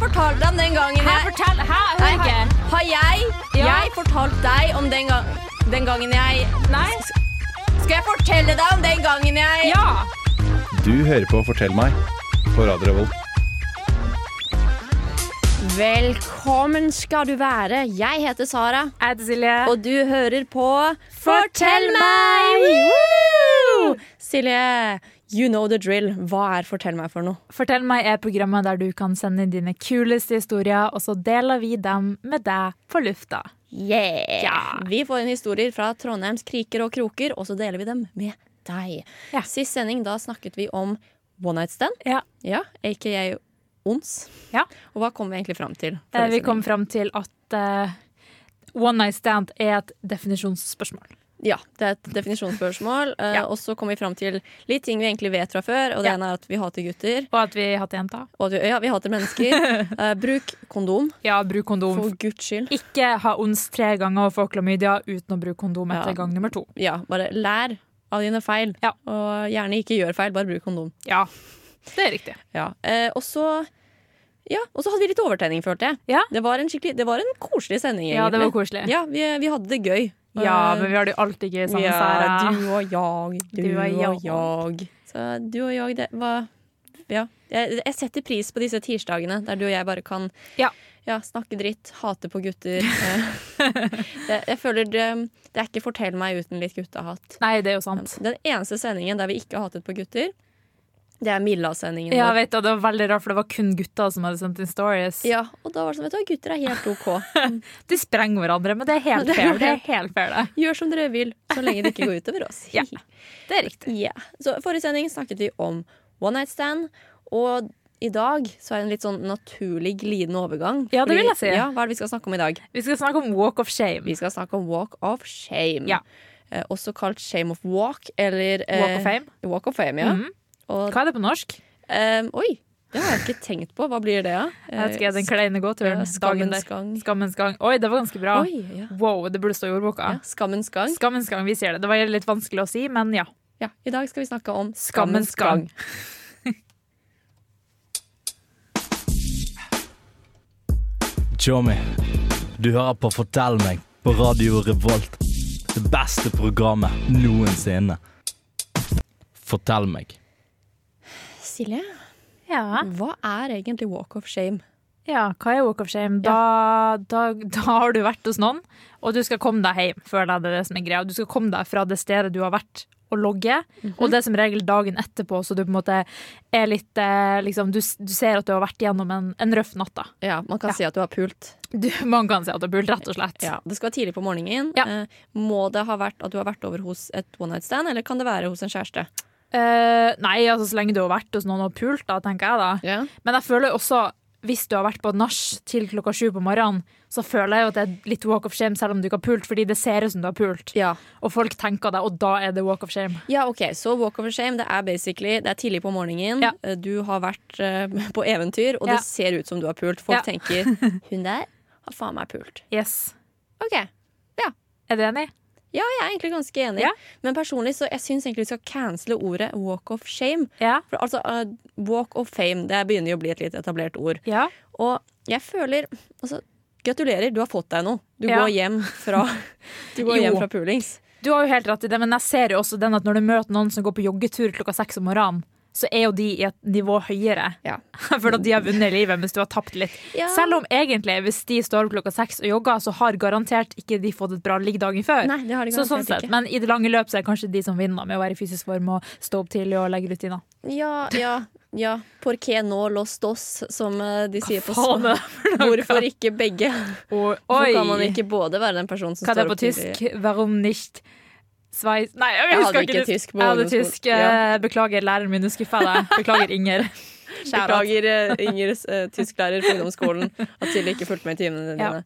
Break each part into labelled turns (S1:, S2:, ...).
S1: fortalte deg om den gangen
S2: Her,
S1: jeg
S2: fortell! Hæ? Jeg hører
S1: Nei,
S2: ikke.
S1: Har jeg,
S2: Ja.
S1: jeg fortalt deg om den, gang, den gangen jeg
S2: Nei?
S1: Skal jeg fortelle deg om den gangen jeg
S2: Ja!
S3: Du hører på Fortell meg på Radio Revolt.
S1: Velkommen skal du være. Jeg heter Sara,
S2: Jeg heter Silje.
S1: og du hører på Fortell meg! Woo! Silje, you know the drill. Hva er Fortell meg for noe?
S2: Fortell meg er programmet der du kan sende inn dine kuleste historier, og så deler vi dem med deg på lufta.
S1: Yeah!
S2: Ja.
S1: Vi får inn historier fra Trondheims kriker og kroker, og så deler vi dem med deg.
S2: Ja.
S1: Sist sending da snakket vi om one night stand,
S2: Ja.
S1: ja, aka ons.
S2: Ja.
S1: Og hva kom vi egentlig fram til?
S2: Eh,
S1: forrige
S2: Vi kom
S1: sending?
S2: fram til at eh, one night stand er et definisjonsspørsmål.
S1: Ja, det er et definisjonsspørsmål. eh,
S2: Ja.
S1: Og så kom vi fram til litt ting vi egentlig vet fra før, og det
S2: Ja.
S1: ene er at vi hater gutter.
S2: Og at vi hater jenter.
S1: Og at vi, ja, vi hater mennesker. Eh, bruk kondom,
S2: Ja, bruk kondom.
S1: for guds skyld.
S2: Ikke ha ons tre ganger og få klamydia uten å bruke kondom
S1: Ja.
S2: etter gang nummer to.
S1: Ja, bare lær av dine feil.
S2: Ja.
S1: Og gjerne ikke gjør feil, bare bruk kondom.
S2: Ja, det er riktig.
S1: Ja. Eh, og så ja, og så hadde vi litt overtenning, følte jeg.
S2: Ja.
S1: Det var en skikkelig, det var en koselig sending.
S2: Ja, det var
S1: egentlig.
S2: koselig.
S1: Ja, vi, vi hadde det gøy.
S2: Ja,
S1: Eh,
S2: men vi har det jo alltid gøy sammen,
S1: ja,
S2: Sara.
S1: Du og jeg, du,
S2: Du og
S1: og
S2: jeg.
S1: jeg. Så du og jeg, det var Ja. Jeg, jeg setter pris på disse tirsdagene der du og jeg bare kan
S2: Ja.
S1: ja, snakke dritt, hate på gutter. Eh, det, jeg føler det, det er ikke 'fortell meg uten litt guttehatt'.
S2: Nei, det er jo sant.
S1: Den eneste sendingen der vi ikke har hatet på gutter, det er Milla-sendingen. vår.
S2: Ja, jeg vet det, det var veldig rart, for det var kun gutter som hadde sendt inn stories.
S1: Ja, og da var det sånn, vet du, hva, gutter er helt OK.
S2: De sprenger hverandre, men det er helt
S1: Det er
S2: fair. Det er
S1: det.
S2: helt fair, det.
S1: Gjør som dere vil, så lenge det ikke går utover oss.
S2: Ja. Det er riktig.
S1: Ja. Så forrige sending snakket vi om one night stand, og i dag så er det en litt sånn naturlig glidende overgang.
S2: Ja, det vil jeg si.
S1: Ja, hva er det vi skal snakke om i dag?
S2: Vi skal snakke om walk of shame.
S1: Vi skal snakke om walk of shame.
S2: Ja.
S1: Eh, også kalt shame of walk, eller eh,
S2: Walk of fame.
S1: Walk of fame, ja.
S2: Mhm.
S1: Og,
S2: Hva er det på norsk?
S1: eh, oi, det har jeg ikke tenkt på. Hva blir det, da? Eh,
S2: Jeg vet ikke, Den kleine gåturen.
S1: ja,
S2: Dagen der.
S1: skammens gang.
S2: Skammens gang. Oi, det var ganske bra.
S1: Oi, ja.
S2: Wow, det burde stå i ordboka.
S1: ja. Skammens gang.
S2: Skammens gang, vi sier det. Det var litt vanskelig å si, men ja.
S1: Ja, I dag skal vi snakke om
S2: Skammens gang.
S4: Tjommi, du hører på Fortell meg på Radio Revolt. Det beste programmet noensinne. Fortell meg.
S1: Silje,
S2: Ja.
S1: hva er egentlig walk of shame?
S2: Ja, hva er walk of shame? Da, da, da har du vært hos noen, og du skal komme deg hjem. Føler jeg det er det som er greia. Du skal komme deg fra det stedet du har vært og logge, og det er som regel dagen etterpå, så du på en måte er litt eh, liksom, du, s- du ser at du har vært gjennom en, en røff natt, da.
S1: Ja, Man kan si at du har pult.
S2: Du, man kan si at du har pult, rett og slett.
S1: Ja, Det skal være tidlig på morgenen.
S2: Ja.
S1: Eh, må det ha vært at du har vært over hos et one night stand, eller kan det være hos en kjæreste?
S2: Eh, nei, altså så lenge du har vært hos noen og pult, da, tenker jeg da. Men jeg føler jo også hvis du har vært på et nach til klokka sju på morgenen, så føler jeg jo at det er litt walk of shame selv om du ikke har pult, fordi det ser ut som du har pult.
S1: Ja.
S2: Og folk tenker det, og da er det walk of shame.
S1: ja, OK. Så walk over shame, det er basically Det er tidlig på morgenen.
S2: Ja.
S1: Eh, Du har vært eh, på eventyr, og
S2: Ja.
S1: det ser ut som du har pult. Folk
S2: Ja.
S1: tenker 'hun der har faen meg pult'.
S2: Yes.
S1: OK.
S2: Er du enig?
S1: Ja, jeg er egentlig ganske enig.
S2: Ja.
S1: Men personlig så jeg syns egentlig vi skal cancele ordet walk of shame.
S2: Ja.
S1: For altså, eh, walk of fame, det begynner jo å bli et litt etablert ord.
S2: Ja.
S1: Og jeg føler altså, Gratulerer, du har fått deg noe. Du
S2: Ja.
S1: går hjem fra Du går
S2: Jo.
S1: hjem fra pulings.
S2: Du har jo helt rett i det, men jeg ser jo også den at når du møter noen som går på joggetur klokka seks om morgenen, så er jo de i et nivå høyere.
S1: Ja.
S2: For at de har vunnet livet mens du har tapt litt.
S1: Ja.
S2: Selv om egentlig, hvis de står opp klokka seks og jogger, så har garantert ikke de fått et bra ligg dagen før.
S1: Nei, det har de
S2: så, sånn
S1: garantert
S2: sett.
S1: ikke.
S2: Men i det lange løp så er det kanskje de som vinner med å være i fysisk form og stå opp tidlig og legge rutiner.
S1: Ja, ja, ja. Por qué no los dos, som eh, de sier på
S2: faen er det
S1: spansk. Hvorfor ikke begge?
S2: Og,
S1: Hvorfor kan man ikke både være den personen som
S2: Hva er det
S1: står
S2: på
S1: opp
S2: tysk?
S1: tidlig
S2: Warum nicht Sveits Nei, jeg,
S1: Jeg
S2: husker
S1: hadde ikke tysk på
S2: Jeg hadde
S1: ungdomsskolen.
S2: tysk. eh, Beklager, læreren min, nå skuffer jeg deg. Beklager, Inger. Beklager.
S1: Beklager, eh, Ingers eh, tysklærer på ungdomsskolen, at Silje ikke fulgte med i timene
S2: Ja.
S1: dine.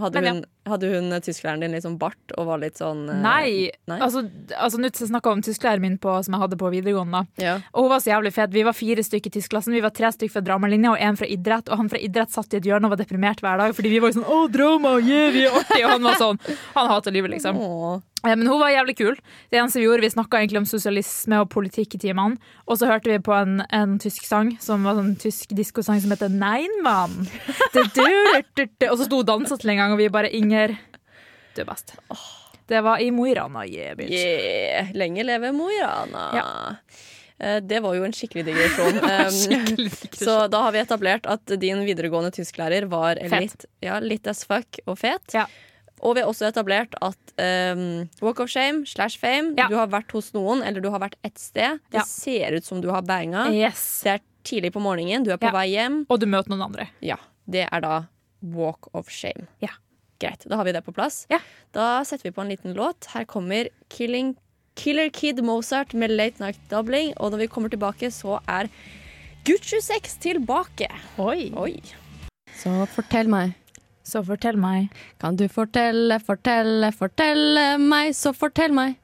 S1: Hadde
S2: Men ja.
S1: hun, Hadde hun eh, tysklæreren din litt sånn bart og var litt sånn eh,
S2: Nei,
S1: nei.
S2: altså, altså nå snakka jeg om tysklæreren min på, som jeg hadde på videregående. da.
S1: Ja.
S2: Og hun var så jævlig fet. Vi var fire stykker i tyskklassen. Vi var tre stykker fra dramalinja og én fra idrett. Og han fra idrett satt i et hjørne og var deprimert hver dag fordi vi var jo sånn 'Å, drama! Yeah, vi er artige!' Og han var sånn. Han hater livet, liksom.
S1: Åh.
S2: Eh, Men hun var jævlig kul. Det eneste Vi gjorde, vi snakka egentlig om sosialisme og politikk i timene. Og så hørte vi på en, en tysk sang som var sånn tysk diskosang som heter Nein, mann. Du, du, du, du, du. Og så sto hun og dansa til en gang, og vi bare Inger, du er best. Det var i Mo i Rana. Yeah, bitch.
S1: Yeah. Lenge leve Mo i Rana.
S2: Ja.
S1: Eh, Det var jo en skikkelig digresjon. Um,
S2: Skikkelig digresjon.
S1: Så da har vi etablert at din videregående tysklærer var
S2: Fet.
S1: litt, ja, litt as fuck og fet.
S2: Ja.
S1: Og vi har også etablert at um, walk of shame slash fame
S2: Ja.
S1: Du har vært hos noen, eller du har vært et sted. Det
S2: Ja.
S1: ser ut som du har banga.
S2: Yes.
S1: Det er tidlig på morgenen, du er på
S2: Ja.
S1: vei hjem.
S2: Og du møter noen andre.
S1: Ja, Det er da walk of shame.
S2: Ja.
S1: Greit, da har vi det på plass.
S2: Ja.
S1: Da setter vi på en liten låt. Her kommer Killing, Killer Kid Mozart med Late Night Doubling. Og når vi kommer tilbake, så er Gucci 6 tilbake.
S2: Oi.
S1: Oi.
S5: Så fortell meg.
S2: Så fortell meg,
S5: Kan du fortelle, fortelle, fortelle meg, så fortell meg.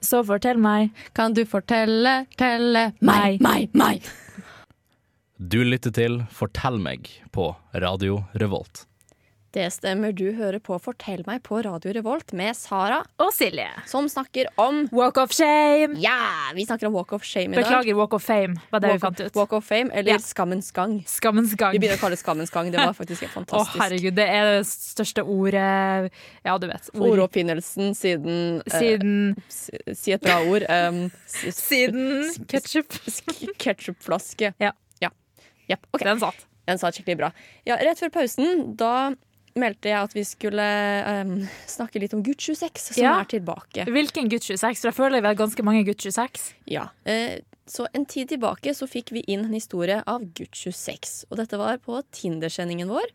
S2: så fortell meg.
S5: Kan du fortelle, telle
S2: Meg.
S5: meg, meg, meg.
S4: Du lytter til Fortell meg på Radio Revolt.
S1: Det stemmer, du hører på Fortell meg på Radio Revolt med Sara,
S2: Og Silje.
S1: som snakker om
S2: Walk of shame.
S1: Ja, vi snakker om Walk of Shame i dag.
S2: Beklager, Walk of fame var det vi
S1: walk,
S2: fant
S1: of,
S2: ut.
S1: walk of Fame, eller
S2: Ja.
S1: Skammens gang.
S2: Skammens gang.
S1: Vi begynner å kalle det Skammens gang. Det var faktisk helt
S2: Å,
S1: fantastisk.
S2: herregud, det er det største ordet Ja, du vet. ord-
S1: Ordoppfinnelsen siden eh,
S2: Siden
S1: si, si et bra ord. Um, s-
S2: Siden ketsjup.
S1: s- Ketchupflaske.
S2: Ja.
S1: ja. Jepp, OK.
S2: Den satt.
S1: Den sa det skikkelig bra. Ja, rett før pausen, da meldte jeg at vi skulle em, snakke litt om Gucci 6, som
S2: Ja.
S1: er tilbake.
S2: Hvilken Gucci 6? For jeg føler vi har ganske mange Gucci 6.
S1: Ja. Eh, så en tid tilbake så fikk vi inn en historie av Gutt26. Og dette var på Tinder-sendingen vår.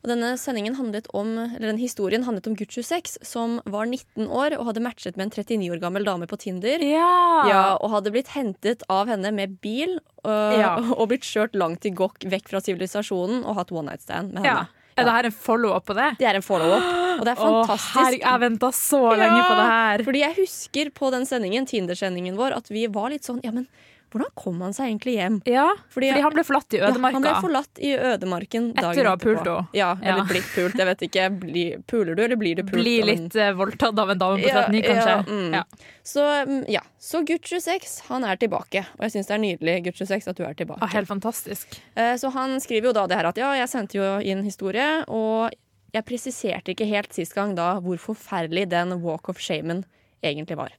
S1: Og denne sendingen handlet om, eller denne historien handlet om Gutt26, som var 19 år og hadde matchet med en 39 år gammel dame på Tinder.
S2: Ja.
S1: Ja, og hadde blitt hentet av henne med bil øh,
S2: Ja.
S1: og blitt kjørt langt i gokk vekk fra sivilisasjonen og hatt one night stand med henne.
S2: Ja. Er det her en follow-up på det?
S1: Det er en follow-up, og det er
S2: Å,
S1: fantastisk.
S2: herregud, jeg venta så lenge på det her.
S1: Fordi jeg husker på den sendingen, Tinder-sendingen vår, at vi var litt sånn Ja, men hvordan kom han seg egentlig hjem?
S2: Ja, fordi,
S1: Fordi-
S2: han ble forlatt i
S1: Ja, han ble
S2: ødemarka.
S1: forlatt i ødemarken
S2: Etter
S1: dagen
S2: å ha pult
S1: etterpå.
S2: henne.
S1: Ja, eller
S2: Ja.
S1: blitt pult. Jeg vet ikke. Bli, puler du, eller blir du pult?
S2: Bli
S1: av en-
S2: litt eh, voldtatt av en dame på
S1: Ja,
S2: 39, kanskje.
S1: ja, mm.
S2: Ja.
S1: Så mm, ja, så Gutt 26 han er tilbake. Og jeg syns det er nydelig Gutt 26 at du er tilbake.
S2: Ah, helt fantastisk.
S1: Eh, Så han skriver jo da det her at ja, jeg sendte jo inn historie, og jeg presiserte ikke helt sist gang da hvor forferdelig den walk of shamen egentlig var.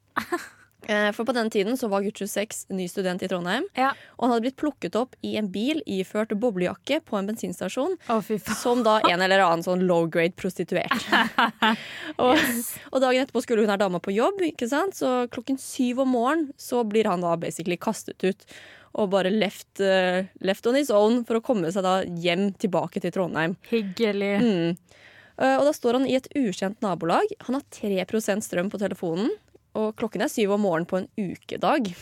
S1: Eh, For på den tiden så var Gutt 26 ny student i Trondheim,
S2: Ja.
S1: og han hadde blitt plukket opp i en bil iført boblejakke på en bensinstasjon.
S2: Å, fy faen.
S1: Som da en eller annen sånn low grade prostituert. og, og dagen etterpå skulle hun her dama på jobb, ikke sant? så klokken syv om morgenen så blir han da basically kastet ut. Og bare left, eh, left on his own for å komme seg da hjem tilbake til Trondheim.
S2: Hyggelig.
S1: Mm. Eh, Og da står han i et ukjent nabolag. Han har 3 strøm på telefonen, og klokken er syv om morgenen på en ukedag.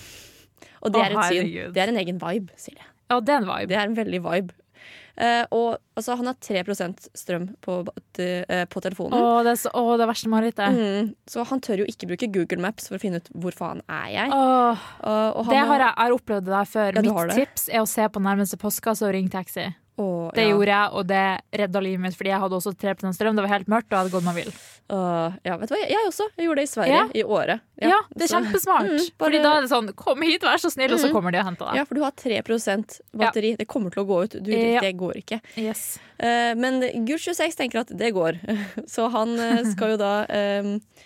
S1: Og det
S2: Å,
S1: er et syn.
S2: herregud.
S1: Det er en egen vibe, sier jeg.
S2: Ja, det er en vibe.
S1: Det er en veldig vibe. Eh, og altså, han har 3 strøm på, bat- eh, på
S2: Å,
S1: telefonen.
S2: det er så, å, det er verste marerittet.
S1: Mm, så han tør jo ikke bruke Google Maps for å finne ut hvor faen er jeg.
S2: Åh,
S1: Og- og han
S2: det
S1: må-
S2: har jeg, jeg har opplevd det der før.
S1: Ja, du har
S2: Mitt
S1: det.
S2: tips er å se på nærmeste postkasse og ringe taxi.
S1: Å,
S2: Det
S1: ja.
S2: gjorde jeg, og det redda livet mitt, fordi jeg hadde også 3 strøm. Det var helt mørkt, og jeg hadde gått meg vill.
S1: Å, ja, vet du hva, jeg, jeg også. Jeg gjorde det i Sverige
S2: Ja.
S1: i året.
S2: Ja, det er
S1: så-
S2: kjempesmart.
S1: Mm, bare-
S2: Fordi da er det sånn, kom hit, vær så snill, og
S1: Mm-hmm.
S2: så kommer de og henter deg.
S1: Ja, for du har 3 batteri. Det kommer til å gå ut. Du,
S2: Ja.
S1: Det går ikke.
S2: Yes.
S1: Eh, men Gud26 tenker at det går, så han eh, skal jo da eh,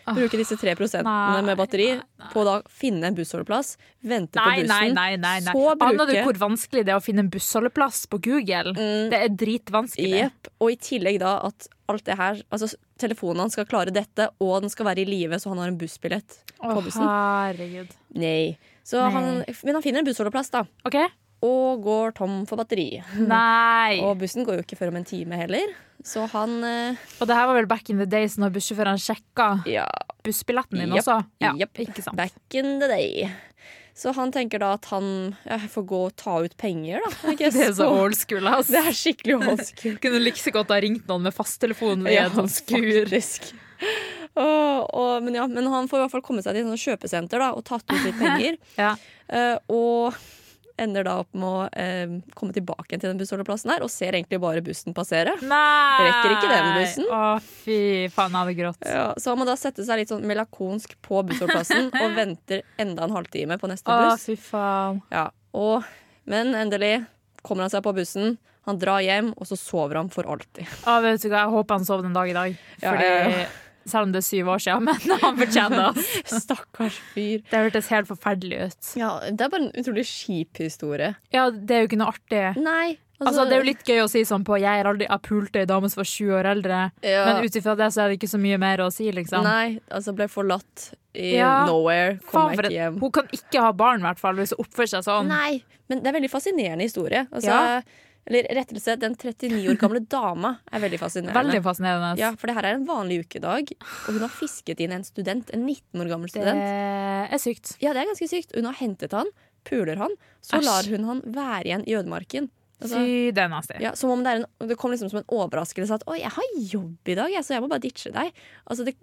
S1: bruke disse 3
S2: Ah, Nei,
S1: med batteri på å da finne en bussholdeplass, vente på
S2: Nei,
S1: bussen,
S2: nei, nei. nei, nei.
S1: så
S2: Aner du
S1: bruke
S2: hvor vanskelig det er å finne en bussholdeplass på Google?
S1: Mm.
S2: Det er dritvanskelig.
S1: Jepp. Og i tillegg da at alt det her Altså telefonen hans skal klare dette, og den skal være i live, så han har en bussbillett
S2: Å,
S1: på bussen.
S2: herregud.
S1: Nei. Så
S2: Nei.
S1: Han, men han finner en bussholdeplass, da.
S2: OK?
S1: Og går tom for batteri.
S2: Nei.
S1: Og bussen går jo ikke før om en time heller. Så han eh,
S2: Og det her var vel back in the days når bussjåførene sjekka
S1: Ja.
S2: bussbilletten din
S1: Japp,
S2: også? Ja,
S1: japp.
S2: ikke sant.
S1: Back in the day. Så han tenker da at han ja, får gå og ta ut penger, da. I guess.
S2: Det er så old school, ass.
S1: Det er skikkelig old school.
S2: Kunne like så godt ha ringt noen med fasttelefonen i
S1: Ja,
S2: et sånt skur.
S1: faktisk. Åh, åh, men, ja, men han får i hvert fall komme seg til et sånt kjøpesenter da, og tatt ut litt penger.
S2: Ja.
S1: Eh, og ender da opp med å eh, komme tilbake igjen til den bussholdeplassen her, og ser egentlig bare bussen passere.
S2: Nei!
S1: Rekker ikke den bussen.
S2: Å, fy faen, jeg hadde grått.
S1: Ja, så han må da sette seg litt sånn melakonsk på bussholdeplassen og venter enda en halvtime på neste
S2: Å,
S1: buss.
S2: fy faen.
S1: Ja, og, men endelig kommer han seg på bussen, han drar hjem, og så sover han for alltid.
S2: Å, vet du hva, jeg håper han sov den dag i dag.
S1: Ja,
S2: Fordi,
S1: ja, ja.
S2: Selv om det er syv år siden, men han fortjener oss.
S1: Stakkars fyr.
S2: Det hørtes helt forferdelig ut.
S1: Ja, det er bare en utrolig kjip historie.
S2: Ja, det er jo ikke noe artig.
S1: Nei,
S2: Altså, det er jo litt gøy å si sånn på 'jeg har aldri jeg pulte ei dame som var sju år eldre',
S1: Ja.
S2: men ut ifra det så er det ikke så mye mer å si, liksom.
S1: Nei, altså ble forlatt i
S2: Ja.
S1: nowhere. Kom
S2: Faen, for
S1: meg
S2: et-
S1: ikke hjem.
S2: Hun kan ikke ha barn, i hvert fall, hvis hun oppfører seg sånn.
S1: Nei, men det er en veldig fascinerende historie. Altså,
S2: Ja.
S1: Eller rettelse, den 39 år gamle dama er veldig fascinerende.
S2: Veldig fascinerende.
S1: Ja, for det her er en vanlig ukedag, og hun har fisket inn en student, en 19 år gammel
S2: det
S1: student.
S2: er sykt.
S1: Ja, det er ganske sykt. Hun har hentet han, puler han, så
S2: Æsj.
S1: lar hun han være igjen i ødemarken. Altså,
S2: Fy, det er nasty.
S1: ja, som om det, er en, det kom liksom som en overraskelse at 'Å, jeg har jobb i dag, jeg, så jeg må bare ditche deg'. Altså, det,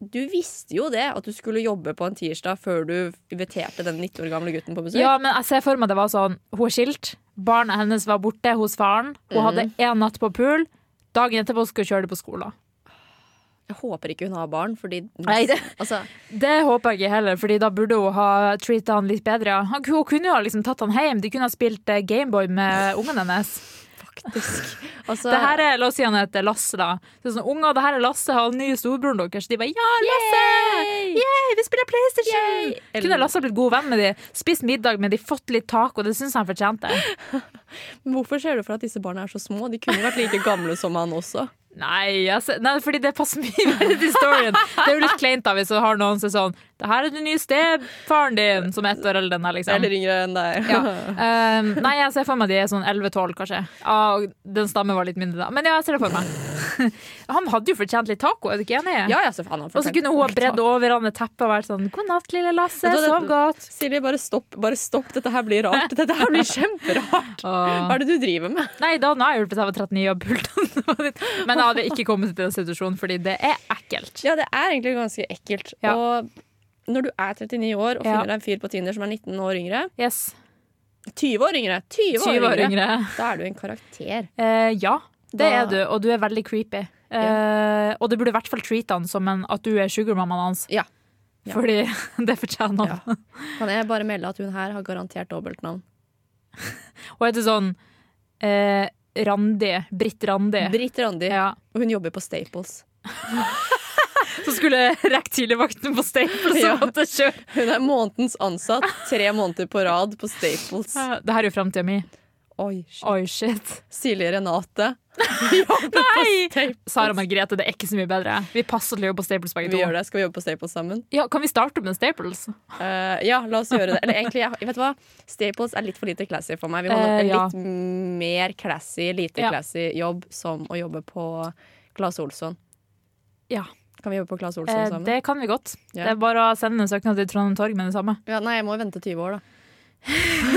S1: du visste jo det, at du skulle jobbe på en tirsdag før du inviterte den 19 år gamle gutten på besøk.
S2: Ja, men jeg ser for meg det var sånn Hun er skilt, barna hennes var borte hos faren Hun hadde
S1: Mhm.
S2: en natt på pool Dagen etterpå skulle hun kjøre det på skolen
S1: Jeg håper ikke hun har barn, fordi
S2: Nei, det-
S1: altså,
S2: Det håper jeg ikke heller, Fordi da burde hun ha treatet han litt bedre Han- Hun kunne jo ha liksom tatt han hjem De kunne ha spilt eh, Gameboy med ungen hennes
S1: Faktisk. Altså,
S2: Det her er, la oss si han heter Lasse da Så sånn, Unger, det her er Lasse, han nye storbroren deres De bare, ja Lasse Yay, vi spiller Playstation Kunne Lasse ha blitt god venn med de Spist middag med de, fått litt taco Det synes jeg han fortjente
S1: Men Hvorfor ser du for deg at disse barna er så små? De kunne vært like gamle som han også.
S2: Nei, jeg ser- nei, fordi det passer mye mer til storyen. Det er jo litt kleint da hvis du har noen som er sånn Det her er den nye stefaren din, som er ett år eldre enn deg, liksom.
S1: Eller yngre enn deg.
S2: Ja. Um, nei, jeg ser for meg de er sånn 11-12, kanskje. Ja, og den stammen var litt mindre da. Men ja, jeg ser det for meg. Han hadde jo fortjent litt taco, er du ikke enig?
S1: Ja, ja, så faen han
S2: Og så kunne hun ha bredd over han et teppe og vært sånn God natt, lille Lasse,
S1: Vet du hva,
S2: sov
S1: det-
S2: godt.
S1: Silje, bare stopp. Bare stopp. Dette her blir rart. Dette her blir kjemperart.
S2: Åh.
S1: Hva er det du driver med?
S2: Nei, da nå har jeg hjulpet jeg var 39 og pult. Men jeg hadde ikke kommet til den situasjonen, fordi det er ekkelt.
S1: Ja, det er egentlig ganske ekkelt.
S2: Ja.
S1: Og når du er 39 år og
S2: Ja.
S1: finner deg en fyr på Tinder som er 19 år yngre
S2: Yes.
S1: 20 år yngre! 20 år
S2: 20 år
S1: yngre.
S2: yngre.
S1: Da er du en karakter.
S2: Eh, ja, det
S1: Da-
S2: er du, og du er veldig creepy. Eh, Og du burde i hvert fall treate han som en, at du er sugarmammaen hans.
S1: Ja. Ja.
S2: Fordi det fortjener han.
S1: Kan jeg bare melde at hun her har garantert dobbeltnavn?
S2: Hun heter sånn eh, Randi. Britt Randi.
S1: Britt Randi.
S2: ja.
S1: Og hun jobber på Staples.
S2: Så skulle jeg rekke tidligvakten på Staples
S1: Ja.
S2: og måtte kjøre.
S1: Hun er månedens ansatt tre måneder på rad på Staples.
S2: Eh, Det her er jo framtida mi.
S1: Oi, shit.
S2: Oi, shit.
S1: Silje Renate.
S2: Nei!
S1: Staples.
S2: Sara Margrethe, det er ikke så mye bedre. Vi passer til å jobbe på Staples begge
S1: Vi gjør
S2: to.
S1: det. Skal vi jobbe på Staples sammen?
S2: Ja, kan vi starte med Staples?
S1: Eh, ja, la oss gjøre det. Eller egentlig, jeg, vet du hva? Staples er litt for lite classy for meg. Vi må ha
S2: Eh,
S1: en
S2: ja.
S1: litt mer classy, lite
S2: Ja.
S1: classy jobb som å jobbe på Claes Olsson.
S2: Ja,
S1: Kan vi jobbe på Claes Olsson
S2: eh,
S1: sammen?
S2: det kan vi godt.
S1: Ja.
S2: Det er bare å sende en søknad til Trondheim Torg med det samme.
S1: Ja, nei, jeg må vente 20 år, da.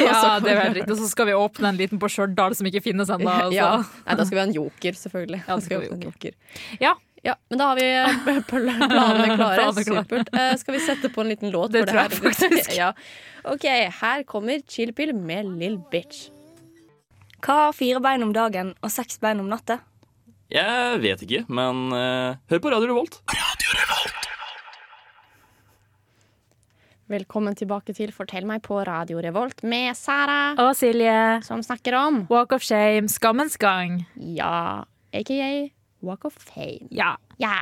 S2: Ja, det er helt riktig. Og så skal vi åpne en liten på Stjørdal som ikke finnes ennå. altså.
S1: Ja. Nei, da skal vi ha en joker, selvfølgelig.
S2: Ja,
S1: Da
S2: da skal
S1: vi
S2: vi
S1: ha en joker.
S2: Ja.
S1: Ja, Men da har vi eh, pl- planene klare.
S2: Planene klare.
S1: Supert. Eh, skal vi sette på en liten låt?
S2: Det
S1: for
S2: tror jeg
S1: her-
S2: faktisk.
S1: ja. OK, her kommer Chill Pill med Lill Bitch.
S6: Hva har fire bein om dagen og seks bein om natta?
S7: Jeg vet ikke, men eh, hør på Radio Revolt.
S1: Velkommen tilbake til Fortell meg på Radio Revolt med Sara.
S2: Og Silje,
S1: som snakker om
S2: Walk of Shame, Skammens gang.
S1: Ja, aka Walk of Fame.
S2: Ja.
S1: Ja!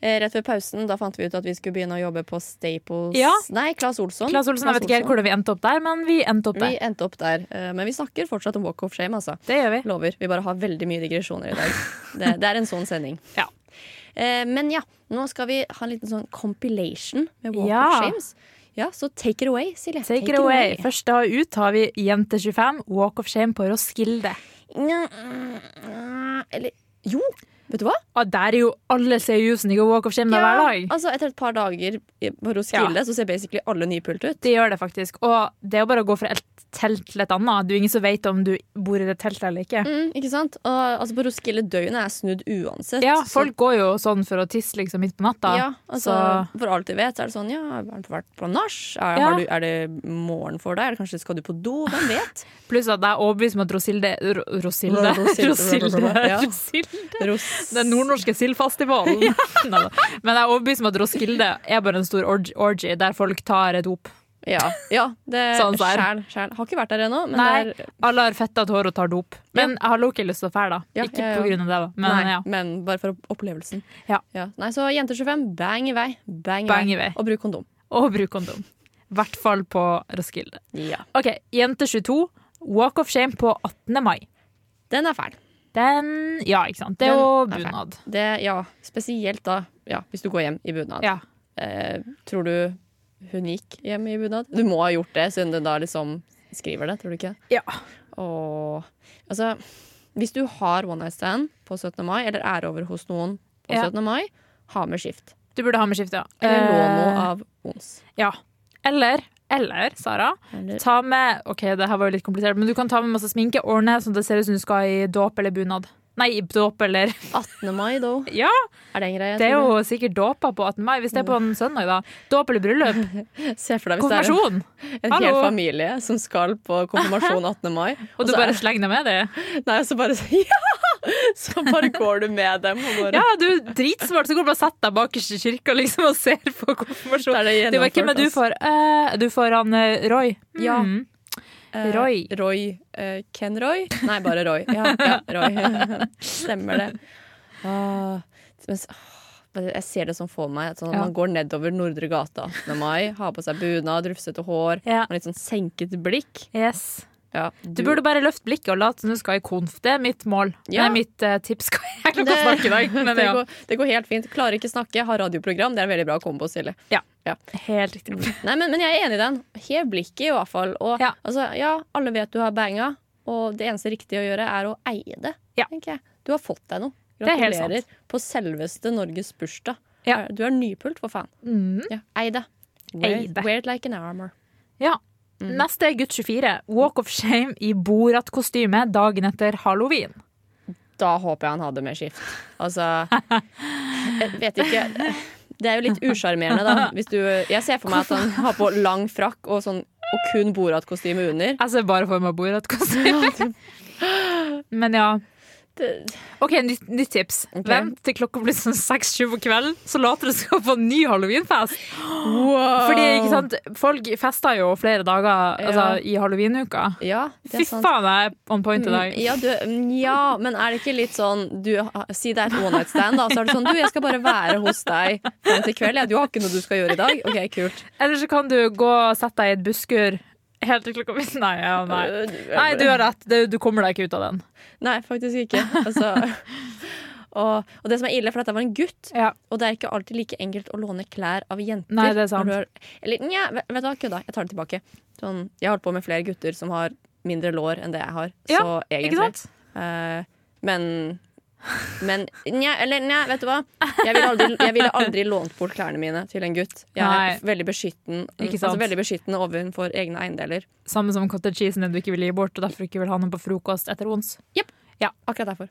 S1: Eh, Rett før pausen da fant vi ut at vi skulle begynne å jobbe på Staples
S2: Ja.
S1: Nei, Claes Olsson.
S2: Claes Olsen, jeg vet ikke helt hvordan vi endte opp der, men vi endte opp
S1: Vi
S2: der.
S1: endte opp der. eh, Men vi snakker fortsatt om Walk of Shame, altså.
S2: Det gjør vi.
S1: Lover. Vi bare har veldig mye digresjoner i dag. Det, det er en sånn sending.
S2: Ja.
S1: Eh, Men ja, nå skal vi ha en liten sånn compilation med Walk
S2: Ja.
S1: of Shames. Ja, så take it away, Silje.
S2: Take it away. Først da ut har vi Jente25, Walk of Shame på Roskilde.
S1: eh, Eller jo, Vet du hva?
S2: Ah, der er jo alle seriøse i går walk of shame hver dag.
S1: Altså, etter et par dager i- på Roskilde så ser basically alle nypult ut.
S2: Det gjør det faktisk. Og det er jo bare å gå fra et telt til et annet. Det er jo ingen som vet om du bor i det teltet eller ikke.
S1: Mm, ikke sant? Og, altså, på Roskilde døgnet er snudd uansett.
S2: Ja,
S1: så-
S2: folk går jo sånn for å tisse liksom midt på natta.
S1: Ja, altså,
S2: så-
S1: For alt de vet, så er det sånn Ja, har du vært på nach? Er,
S2: Ja.
S1: har du- er det morgen for deg? Eller kanskje skal du på do? Hvem vet?
S2: Pluss at jeg er overbevist om at Rosilde Ro- Rosilde?
S1: Rosilde.
S2: Rosilde.
S1: Ja.
S2: Rosilde.
S1: Ros-
S2: Den nordnorske sildfestivalen. Neida. Men jeg er overbevist om at Roskilde er bare en stor org- orgy der folk tar et dop.
S1: Ja, ja det
S2: Sånn så er.
S1: sjæl, sjæl. Har ikke vært der ennå, men
S2: Nei,
S1: det er
S2: alle har fettet hår og tar dop. Men jeg har loki lyst til å fære, da.
S1: Ja,
S2: ikke
S1: ja, ja.
S2: på grunn av det, da. Men
S1: Nei,
S2: ja.
S1: men bare for opplevelsen.
S2: Ja.
S1: Nei, så jenter 25, bang i vei. Bang i,
S2: Bang
S1: vei.
S2: i vei.
S1: Og bruk kondom.
S2: Og bruk kondom. I hvert fall på Roskilde.
S1: Ja.
S2: OK, jente 22. Walk of shame på 18. mai.
S1: Den er fæl.
S2: Den Ja, ikke sant. Det er
S1: Den
S2: jo
S1: er fæl.
S2: bunad.
S1: Det, ja, spesielt da ja, hvis du går hjem i bunad.
S2: Ja.
S1: Eh, tror du hun gikk hjem i bunad? Du må ha gjort det, siden den da liksom skriver det, tror du ikke?
S2: Ja.
S1: Og altså, hvis du har one night stand på 17. mai, eller er over hos noen på
S2: Ja.
S1: 17. mai, ha med skift.
S2: Du burde ha med skifte, ja.
S1: Eller lån
S2: Eh,
S1: noe av ons.
S2: Ja. Eller, eller, Sara,
S1: Eller,
S2: ta med Ok, det her var jo litt komplisert, men du kan ta med masse sminke, ordne sånn at det ser ut som du skal i dåp eller bunad. Nei, i dåp eller
S1: 18. mai, da.
S2: Ja,
S1: Er det en greie?
S2: det er
S1: tror
S2: jo sikkert dåper på 18. mai, hvis det er på en søndag, da. Dåp eller bryllup.
S1: du? Se for deg hvis det er en,
S2: Konfirmasjon.
S1: en hel
S2: Hallo.
S1: familie som skal på konfirmasjon 18. mai.
S2: Og du
S1: så
S2: bare
S1: er-
S2: slenger deg med det.
S1: Nei, og så bare Ja! Så bare går du med dem. Og bare,
S2: Ja, du er dritsmart, så går du bare og setter deg bakerst i kirka liksom, og ser på
S1: Da
S2: konfirmasjon.
S1: er det
S2: Du vet hvem
S1: gjennomført,
S2: er du
S1: ass.
S2: for? Eh, du får han eh, Roy.
S1: Ja.
S2: Mm.
S1: Eh,
S2: Roy.
S1: Roy. Eh, Ken Roy? Nei, bare Roy. Ja, ja Roy. Stemmer det. Ah, men s- ah, jeg ser det som for meg. at Sånn,
S2: Ja.
S1: Man går nedover Nordre gata 18. mai, har på seg bunad, rufsete hår
S2: Ja.
S1: og litt sånn senket blikk.
S2: Yes.
S1: Ja,
S2: Du burde bare løfte blikket og late som du skal i konf. Det er mitt mål.
S1: Ja.
S2: Nei, mitt eh, tips. Jeg klarer ikke å
S1: Det-
S2: snakke i dag, men
S1: det,
S2: ja.
S1: går, det går helt fint. Klarer ikke snakke, har radioprogram. Det er en veldig bra kombo. Silje.
S2: Helt riktig.
S1: Nei, men, men jeg er enig i den. Hev blikket, i hvert fall. Og
S2: Ja.
S1: altså, ja, alle vet du har banga, og det eneste riktige å gjøre er å eie det,
S2: Ja.
S1: tenker jeg. Du har fått deg noe.
S2: er helt sant.
S1: Gratulerer på selveste Norges bursdag.
S2: Ja.
S1: Du er nypult, for faen.
S2: Mm.
S1: Ja. Ei det. Wear,
S2: Eie det.
S1: wear it like an armor.
S2: Ja.
S1: Mm.
S2: Neste er gutt 24. Walk of shame i Borat-kostyme dagen etter halloween.
S1: Da håper jeg han hadde med skift. Altså Jeg vet ikke. Det er jo litt usjarmerende, da. Hvis du, jeg ser for meg at han har på lang frakk og, sånn, og kun Borat-kostyme under.
S2: Jeg ser Altså, bare for meg Borat-kostyme. Men ja.
S1: Det,
S2: OK, nytt, nytt tips.
S1: Ok.
S2: Vent til klokka blir sånn seks-sju på kvelden, så later du som du skal på en ny halloweenfest. Fordi, ikke sant, folk fester jo flere dager altså,
S1: Ja.
S2: i halloweenuka.
S1: ja, det
S2: Fy
S1: er sant.
S2: faen, jeg er on point i dag.
S1: Mm, Ja, du, mm, ja, men er det ikke litt sånn du, ah, Si det er et one night stand, da. Så er det sånn Du, jeg skal bare være hos deg frem til kveld. Ja, du har ikke noe du skal gjøre i dag. OK, kult.
S2: Eller så kan du gå og sette deg i et busskur helt til klokka mitt. Nei, ja,
S1: Øh,
S2: nei. nei, du har rett. Du, du kommer deg ikke ut av den.
S1: Nei, faktisk ikke. Altså og, og det som er ille, for dette var en gutt,
S2: Ja.
S1: og det er ikke alltid like enkelt å låne klær av jenter.
S2: Nei, det er
S1: når
S2: sant.
S1: du har- eller nja, vet vet du hva, kødda. Jeg tar det tilbake. Sånn, jeg har holdt på med flere gutter som har mindre lår enn det jeg har.
S2: Ja,
S1: så egentlig
S2: Ikke sant?
S1: Eh, men men nja, eller nja, vet du hva? Jeg ville aldri, jeg ville aldri lånt bort klærne mine til en gutt. Jeg er
S2: Nei.
S1: veldig beskyttende,
S2: Ikke
S1: altså,
S2: sant?
S1: veldig beskyttende overfor egne eiendeler.
S2: Samme som cottage cheesen din du ikke vil gi bort, og derfor ikke vil ha noe på frokost etter ons.
S1: Akkurat derfor.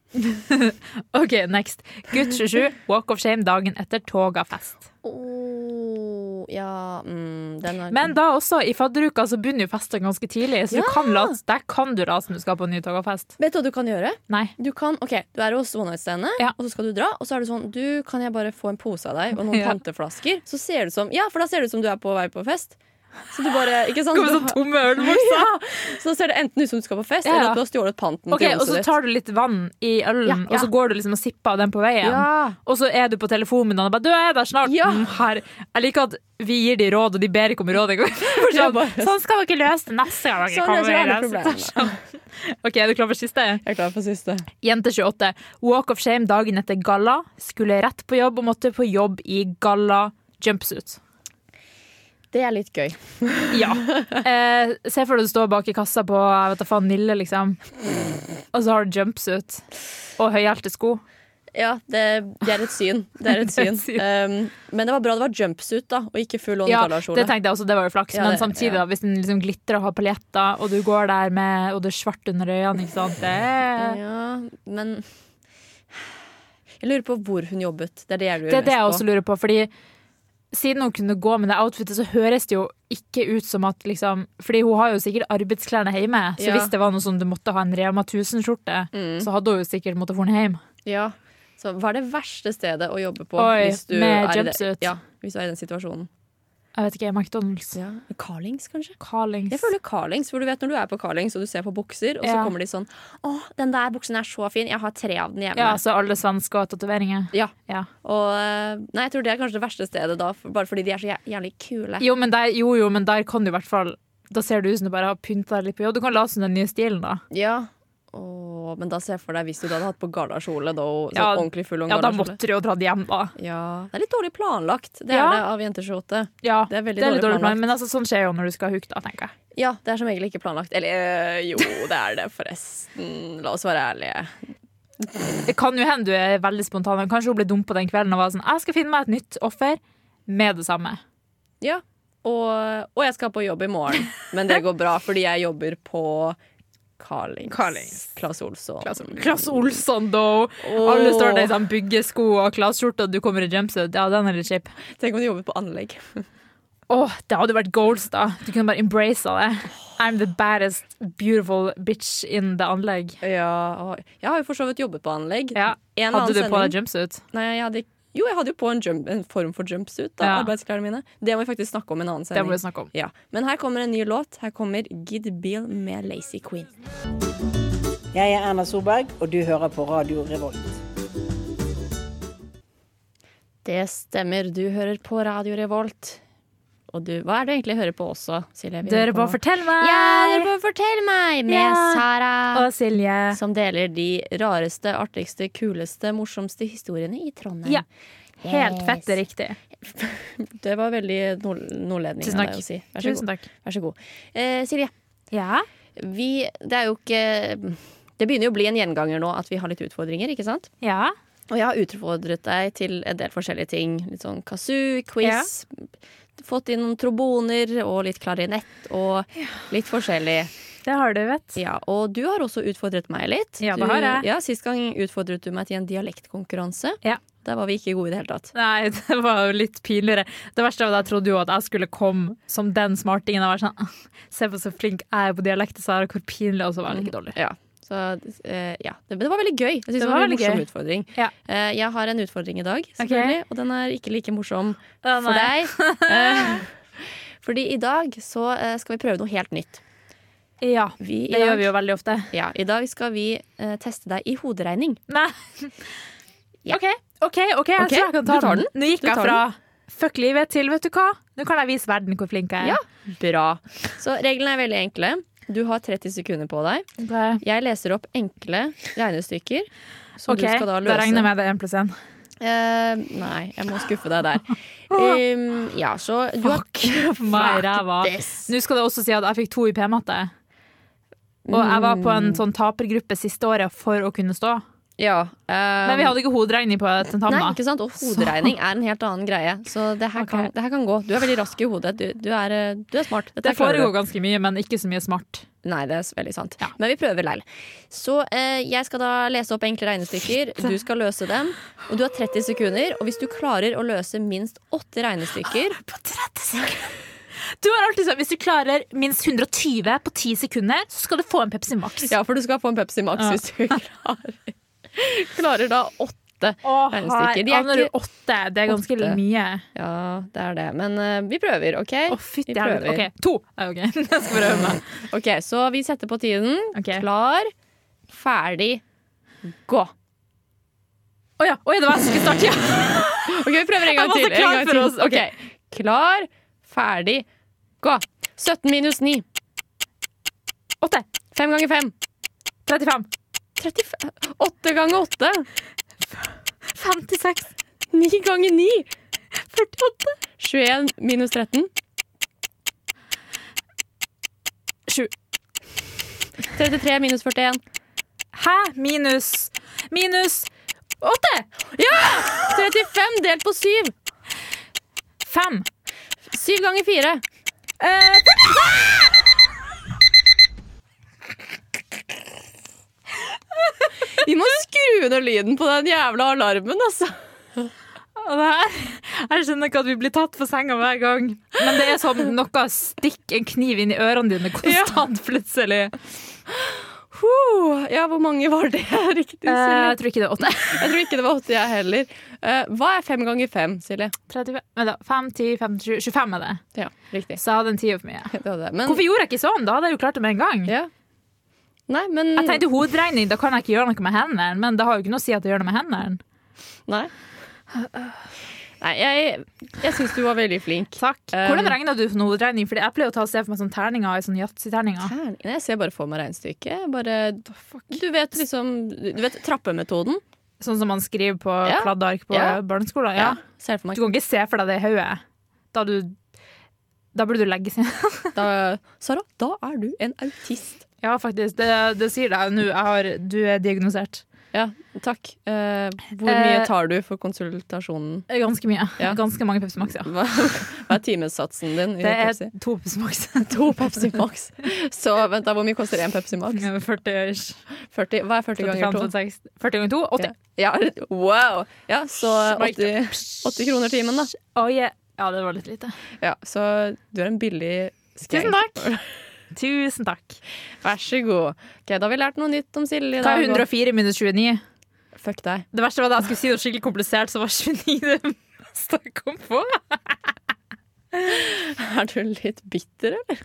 S2: OK, next. Gutt 27, walk of shame dagen etter togafest.
S1: Oh, ja mm, den er
S2: Men da også, i fadderuka så begynner jo festen ganske tidlig, så du kan late, der kan du late som du skal på en ny togafest.
S1: Vet du hva du kan gjøre?
S2: Nei.
S1: Du kan, ok, du er hos one night standet,
S2: Ja.
S1: og så skal du dra. Og så er det sånn Du, kan jeg bare få en pose av deg og noen
S2: Ja.
S1: panteflasker? Så ser det ut som Ja, for da ser det ut som du er på vei på fest. Så du bare Ikke sant?
S2: Kommer
S1: Du
S2: sånn
S1: har-
S2: tomme ølbokser.
S1: Så ser det enten ut som du skal på fest,
S2: Ja, ja.
S1: eller at du har stjålet panten
S2: Ok,
S1: til
S2: og
S1: oset
S2: så
S1: ditt.
S2: tar du litt vann i ølen,
S1: Ja,
S2: og så
S1: ja.
S2: går du liksom og sipper av den på veien.
S1: Ja.
S2: Og så er du på telefonen min, og han bare 'Du, jeg er der snart'.
S1: Ja.
S2: Mm, her. Jeg liker at vi gir de råd, og de ber ikke om råd engang. For
S1: Ja,
S2: Sånn,
S1: bare-
S2: sånn skal dere løse det neste gang dere
S1: Sånn løser alle
S2: kommer.
S1: problemene.
S2: Sånn. OK, er du klar for siste?
S1: Jeg er klar for siste.
S2: Jente 28. Walk of shame dagen etter galla. Skulle rett på jobb og måtte på jobb i galla jumpsuit.
S1: Det er litt gøy.
S2: Ja. Eh, se for deg du står bak i kassa på jeg vet da faen, Nille, liksom. Og så har du jumpsuit og høyhælte sko.
S1: Ja, det, det er et syn. Det er et
S2: Det er
S1: syn.
S2: et syn.
S1: Um, men det var bra det var jumpsuit, da, og ikke full on
S2: Ja,
S1: ullkjolerskjole.
S2: det tenkte jeg også, det var jo flaks.
S1: Ja,
S2: men
S1: det-
S2: samtidig,
S1: ja.
S2: da, hvis den liksom glitrer og har paljetter, og du går der med Og det er svart under øynene, ikke sant. Det,
S1: ja, men Jeg lurer på hvor hun jobbet. Det er det jeg lurer
S2: det er det jeg
S1: mest
S2: også lurer på, fordi siden hun kunne gå med det outfitet, så høres det jo ikke ut som at liksom Fordi hun har jo sikkert arbeidsklærne hjemme, så
S1: Ja. Mm.
S2: hvis det var noe sånn du måtte ha en Rema 1000-skjorte, så hadde hun jo sikkert måttet få den hjem.
S1: på. Ja. Så hva er det verste stedet å jobbe på
S2: Oi,
S1: hvis, du er
S2: med
S1: i det,
S2: jumpsuit.
S1: ja, hvis du er i den situasjonen?
S2: Jeg vet ikke, McDonald's.
S1: Carlings, kanskje?
S2: Carlings.
S1: Jeg føler Carlings, hvor du vet når du er på Carlings og du ser på bukser, og så
S2: Ja.
S1: kommer de sånn Å, den der buksen er så fin, jeg har tre av den hjemme.
S2: Ja, så alle svensker og tatoveringer.
S1: Ja.
S2: Ja.
S1: Og eh, Nei, jeg tror det er kanskje det verste stedet, da, for- bare fordi de er så jæ- jævlig kule.
S2: Jo, men der, jo, jo, men der kan du i hvert fall Da ser det ut som du bare har pynta deg litt på jobb. Du kan late som den nye stilen, da.
S1: Ja. Åh, men da ser jeg for deg hvis du da hadde hatt på gardakjole, da. og Sånn
S2: Ja,
S1: ordentlig full om
S2: Ja, da
S1: gardakjole.
S2: måtte du jo dratt hjem, da.
S1: Ja. Det er litt dårlig planlagt, det
S2: Ja.
S1: er det, av jenter 28.
S2: Ja,
S1: Det er veldig
S2: litt
S1: dårlig
S2: dårlig plan, men altså, sånn skjer jo når du skal hooke, da, tenker jeg.
S1: Ja, det er som regel ikke planlagt. Eller eh, jo, det er det, forresten. La oss være ærlige.
S2: Det kan jo hende du er veldig spontan. men Kanskje hun ble dumpa den kvelden og var sånn Jeg skal finne meg et nytt offer med det samme.
S1: Ja. Og, og jeg skal på jobb i morgen, men det går bra fordi jeg jobber på Carlings.
S2: Carlings.
S1: Claes Olsson.
S2: Klass Olsson, da! Alle står der i sånn byggesko og klasskjorte, og du kommer i jumpsuit. Ja, den er litt kjip.
S1: Tenk om du jobber på anlegg.
S2: Åh, det hadde vært goals, da. Du kunne bare embracet det. I'm the baddest beautiful bitch in the anlegg.
S1: Ja, og- jeg har jo for så vidt jobbet på anlegg.
S2: Ja.
S1: En
S2: Hadde du
S1: annen
S2: på
S1: sending-
S2: deg jumpsuit?
S1: Nei, jeg hadde ikke jo, jeg hadde jo på en, jump, en form for jumpsuit. da,
S2: Ja.
S1: Arbeidsklærne mine. Det må vi faktisk snakke om i en annen
S2: Det må
S1: sending.
S2: vi snakke om.
S1: Ja. Men her kommer en ny låt. Her kommer Gid Bill med Lazy Queen.
S8: Jeg er Erna Solberg, og du hører på Radio Revolt.
S1: Det stemmer. Du hører på Radio Revolt. Og du, hva er det du egentlig hører på også, Silje? Vi
S2: Dere
S1: hører
S2: bare
S1: på-
S2: fortell meg!
S1: Ja, dere bare fortell meg! Med
S2: Ja.
S1: Sara.
S2: Og Silje.
S1: Som deler de rareste, artigste, kuleste, morsomste historiene i Trondheim.
S2: Ja. Helt
S1: Yes.
S2: fett er riktig.
S1: Det var veldig nord nordledning
S2: Tusen
S1: av
S2: takk.
S1: deg å si. Vær så god.
S2: Tusen takk.
S1: Vær så god. Eh, Silje,
S2: Ja.
S1: vi, det er jo ikke Det begynner jo å bli en gjenganger nå at vi har litt utfordringer, ikke sant?
S2: Ja.
S1: Og jeg har utfordret deg til en del forskjellige ting. Litt sånn kazoo, quiz. Fått inn noen tromboner og litt klarinett og litt forskjellig.
S2: Det har du, vet.
S1: Ja, og du har også utfordret meg litt.
S2: Ja, det
S1: Du-
S2: har jeg.
S1: Ja, Sist gang utfordret du meg til en dialektkonkurranse.
S2: Ja.
S1: Der var vi ikke gode i det hele tatt.
S2: Nei, det var jo litt pinligere. Det verste var at jeg trodde jo at jeg skulle komme som den smartingen. Jeg var sånn, Se på så flink jeg er på dialekten, Sara. Hvor pinlig. Og så var det ikke dårlig.
S1: Ja. Så eh, ja, det, men det var veldig gøy. Jeg synes
S2: Det
S1: det var
S2: var
S1: en
S2: veldig
S1: morsom
S2: gøy.
S1: utfordring.
S2: Ja.
S1: Eh, jeg har en utfordring i dag, selvfølgelig, og den er ikke like morsom
S2: Å,
S1: for
S2: nei.
S1: deg. Eh, fordi i dag så eh, skal vi prøve noe helt nytt. Mm.
S2: Ja.
S1: Vi, i
S2: Det
S1: dag,
S2: gjør vi jo veldig ofte.
S1: Ja, I dag skal vi eh, teste deg i hoderegning.
S2: Nei.
S1: Ja.
S2: OK, OK, ok, jeg
S1: Ok,
S2: tror jeg kan ta
S1: du tar
S2: den. Nå gikk
S1: Du
S2: jeg
S1: tar
S2: fra fuck livet til vet du hva, nå kan jeg vise verden hvor flink jeg
S1: Ja.
S2: er.
S1: Bra. Så reglene er veldig enkle. Du har 30 sekunder på deg.
S2: Ok.
S1: Jeg leser opp enkle regnestykker. Som
S2: OK,
S1: du skal da
S2: da,
S1: løse.
S2: regner jeg med det er én pluss én.
S1: Eh, nei, jeg må skuffe deg der. Um, ja, så du har
S2: Fuck meg, ræva.
S1: Yes.
S2: Nå skal det også si at jeg fikk to i P-matte. Og jeg var på
S1: Mm.
S2: en sånn tapergruppe siste året for å kunne stå.
S1: Ja, eh,
S2: Men vi hadde ikke hoderegning på
S1: Nei,
S2: tentamen. da.
S1: ikke sant? Og hoderegning er en helt annen greie. Så det her, kan,
S2: Ok.
S1: det her kan gå. Du er veldig rask i hodet. Du, du, er, eh, du er smart. Dette
S2: Det
S1: klarer du.
S2: foregår ganske mye, men ikke så mye smart.
S1: Nei, det er s- veldig sant.
S2: Ja.
S1: Men vi prøver Leil. Så eh, jeg skal da lese opp enkle regnestykker. Du skal løse dem. Og du har 30 sekunder. Og hvis du klarer å løse minst åtte regnestykker
S2: På 30 sekunder. Du har alltid sagt hvis du klarer minst 120 på 10 sekunder, så skal du få en Pepsi Max.
S1: Ja, for du skal få en Pepsi Max
S2: Ja.
S1: hvis du klarer, klarer da åtte.
S2: Åh,
S1: Regnestykker. De er
S2: Anner du
S1: ikke-
S2: åtte. Det er ganske
S1: Åtte.
S2: mye.
S1: Ja, det er det. Men eh, vi prøver, OK?
S2: Å, fytti
S1: Vi prøver.
S2: helvete. OK, to. Ja, ok. Jeg skal prøve meg.
S1: Ok, Så vi setter på tiden.
S2: Ok.
S1: Klar, ferdig, gå.
S2: Å ja, oi, det var jeg som skulle starte. Ja.
S1: Ok, vi prøver en gang
S2: Jeg var så
S1: til.
S2: klar
S1: en gang
S2: for
S1: til.
S2: oss. Ok.
S1: Ok. Klar, ferdig, gå. 17 minus 9.
S2: Åtte.
S1: 5 ganger 5.
S2: 35.
S1: 35. 8 ganger 8.
S2: 56.
S1: 9 ganger 9.
S2: 48.
S1: 21 minus 13.
S2: 7.
S1: 33 minus 41.
S2: Hæ? Minus Minus Åtte! Ja! 35 delt på syv. Fem.
S5: Syv ganger fire.
S1: Vi må skru ned lyden på den jævla alarmen, altså.
S2: Og det her, jeg skjønner ikke at vi blir tatt på senga hver gang. Men det er som noe stikk en kniv inn i ørene dine konstant, plutselig.
S1: Huh, ja, hvor mange var det riktig,
S2: Eh,
S1: Silje?
S2: jeg tror ikke det er åtte.
S1: Jeg tror ikke det var åtte, jeg heller. Eh, hva er fem ganger fem, Silje?
S2: 35, vent da, 5, 10, 15, 20, 25 er det.
S1: Ja, riktig.
S2: Så jeg hadde en tier for mye.
S1: Det var det. Men,
S2: Hvorfor gjorde jeg ikke sånn? Da hadde jeg jo klart det med en gang.
S1: Ja. Nei, men
S2: Jeg tenkte hovedregning, da kan jeg ikke gjøre noe med hendene. Men det har jo ikke noe å si at jeg gjør noe med hendene.
S1: Nei. Nei, jeg, jeg syns du var veldig flink.
S2: Takk. Eh. Hvordan
S1: Um,
S2: regner du for noe hovedregning? Fordi jeg pleier å ta og se for meg sånn terninger i sånne yatzy-terninger.
S1: Her, nei, jeg ser bare for meg regnestykket. Bare, du vet liksom Du vet trappemetoden?
S2: Sånn som man skriver på
S1: Ja.
S2: kladdark på
S1: Ja.
S2: barneskolen. Ja.
S1: Ser jeg for meg.
S2: Du kan ikke se for deg det i hodet. Da, du- da burde du legge seg
S1: Da, Sara, da er du en autist.
S2: Ja, faktisk. Det, det sier deg nå. Jeg har, du er diagnosert.
S1: Ja, takk. Eh, hvor
S2: Eh,
S1: mye tar du for konsultasjonen?
S2: Ganske mye.
S1: Ja.
S2: Ganske mange Pepsi Max, ja.
S1: Hva, hva er timesatsen din? i
S2: Det er
S1: Pepsi?
S2: to Pepsi Max.
S1: to Pepsi Max. Så vent, da, hvor mye koster én Pepsi Max?
S2: 40 ish.
S1: 40, hva er 40
S2: 45,
S1: ganger to?
S2: 46. 40 ganger 2, 80.
S1: Ja, wow! Ja, så
S2: Mic
S1: 80, 80 kroner timen, da.
S2: Oh, yeah. Ja, det var litt lite.
S1: Ja, så du er en billig skrei.
S2: Tusen takk. Tusen takk.
S1: Vær så god. Ok, Da har vi lært noe nytt om Silje. i
S2: Hva er
S1: dag, og-
S2: 104 minus 29?
S1: Fuck deg.
S2: Det verste var at jeg skulle si noe skikkelig komplisert, så var 29 det meste jeg kom på.
S1: Er du litt bitter, eller?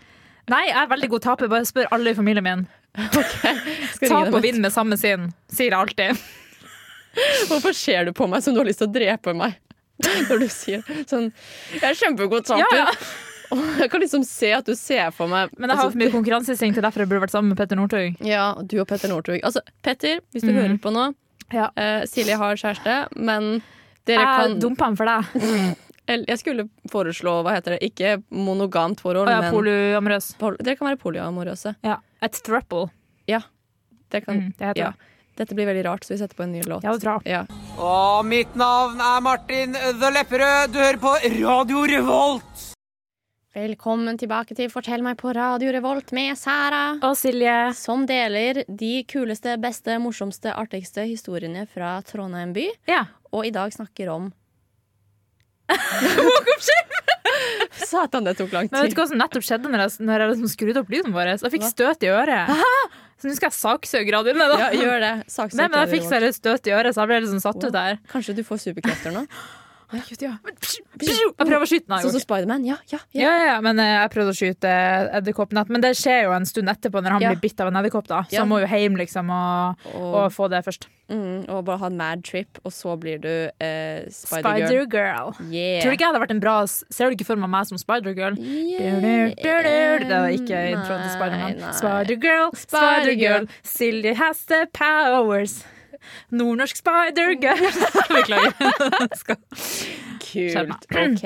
S2: Nei, jeg er veldig god taper. Bare spør alle i familien min.
S1: Skal jeg ringe
S2: Tap
S1: dem
S2: og vinn med samme sinn, sier jeg alltid.
S1: etterpå? Hvorfor ser du på meg som du har lyst til å drepe meg? Når du sier sånn Jeg er kjempegod taper.
S2: Ja, ja.
S1: Og jeg kan liksom se at du ser for meg
S2: Men jeg har
S1: altså,
S2: for mye konkurranseinstinkt, det er derfor jeg burde vært sammen med Petter Northug.
S1: Ja, og du og Petter Northug. Altså, Petter, hvis
S2: Mhm.
S1: du hører på nå
S2: Ja.
S1: eh, Silje har kjæreste, men dere
S2: Jeg
S1: kan
S2: dumpa han for deg.
S1: Eller, Jeg skulle foreslå, hva heter det, ikke monogamt forhold,
S2: Og jeg er
S1: men
S2: polyamorøs.
S1: pol dere kan være polyamorøse.
S2: Ja. Et thruple.
S1: Det kan,
S2: Mm, det heter
S1: ja.
S2: det.
S1: Dette blir veldig rart, så vi setter på en ny låt.
S2: Ja, det er bra.
S1: Ja.
S9: Og mitt navn er Martin The Lepperød. Du hører på Radio Revolt.
S1: Velkommen tilbake til Fortell meg på Radio Revolt med Sara.
S2: Og Silje.
S1: Som deler de kuleste, beste, morsomste, artigste historiene fra Trondheim by.
S2: Ja.
S1: Og i dag snakker om Satan, det tok lang
S2: Men vet
S1: tid.
S2: du hva som nettopp skjedde når jeg, når jeg liksom skrudde opp lyden vår? Jeg fikk
S1: Hva?
S2: støt i øret. Så nå skal jeg saksøke radioene, da.
S1: Ja, gjør det. Saksøk
S2: Nei, men jeg
S1: Radio
S2: fikk
S1: Revolt.
S2: seriøst støt i øret, så jeg ble litt sånn satt ut der.
S1: Kanskje du får superkrefter nå?
S2: Herregud, ja. Men psju, psju, Jeg prøver å skyte den.
S1: Sånn
S2: her,
S1: som Spiderman? Ja, ja, ja.
S2: Ja, ja, ja, men eh, jeg prøvde å skyte edderkoppnatt. Men det skjer jo en stund etterpå, når han
S1: Ja.
S2: blir bitt av en edderkopp. da. Så
S1: Ja.
S2: han må jo hjem, liksom, og,
S1: Og,
S2: og få det først.
S1: mm, og bare ha en mad trip, og så blir du eh, Spider-Girl.
S2: Spider-Girl.
S1: yeah.
S2: Tror du ikke jeg hadde vært en bra Ser du ikke for meg meg som Spider-Girl?
S1: Yeah.
S2: Det er ikke introen til
S1: Nei,
S2: Spider-Man.
S1: nei.
S2: Spider-Girl, Spider-Girl, Silje has the powers. Nordnorsk Spider-Girl. Beklager. Skal-
S1: Kult. OK.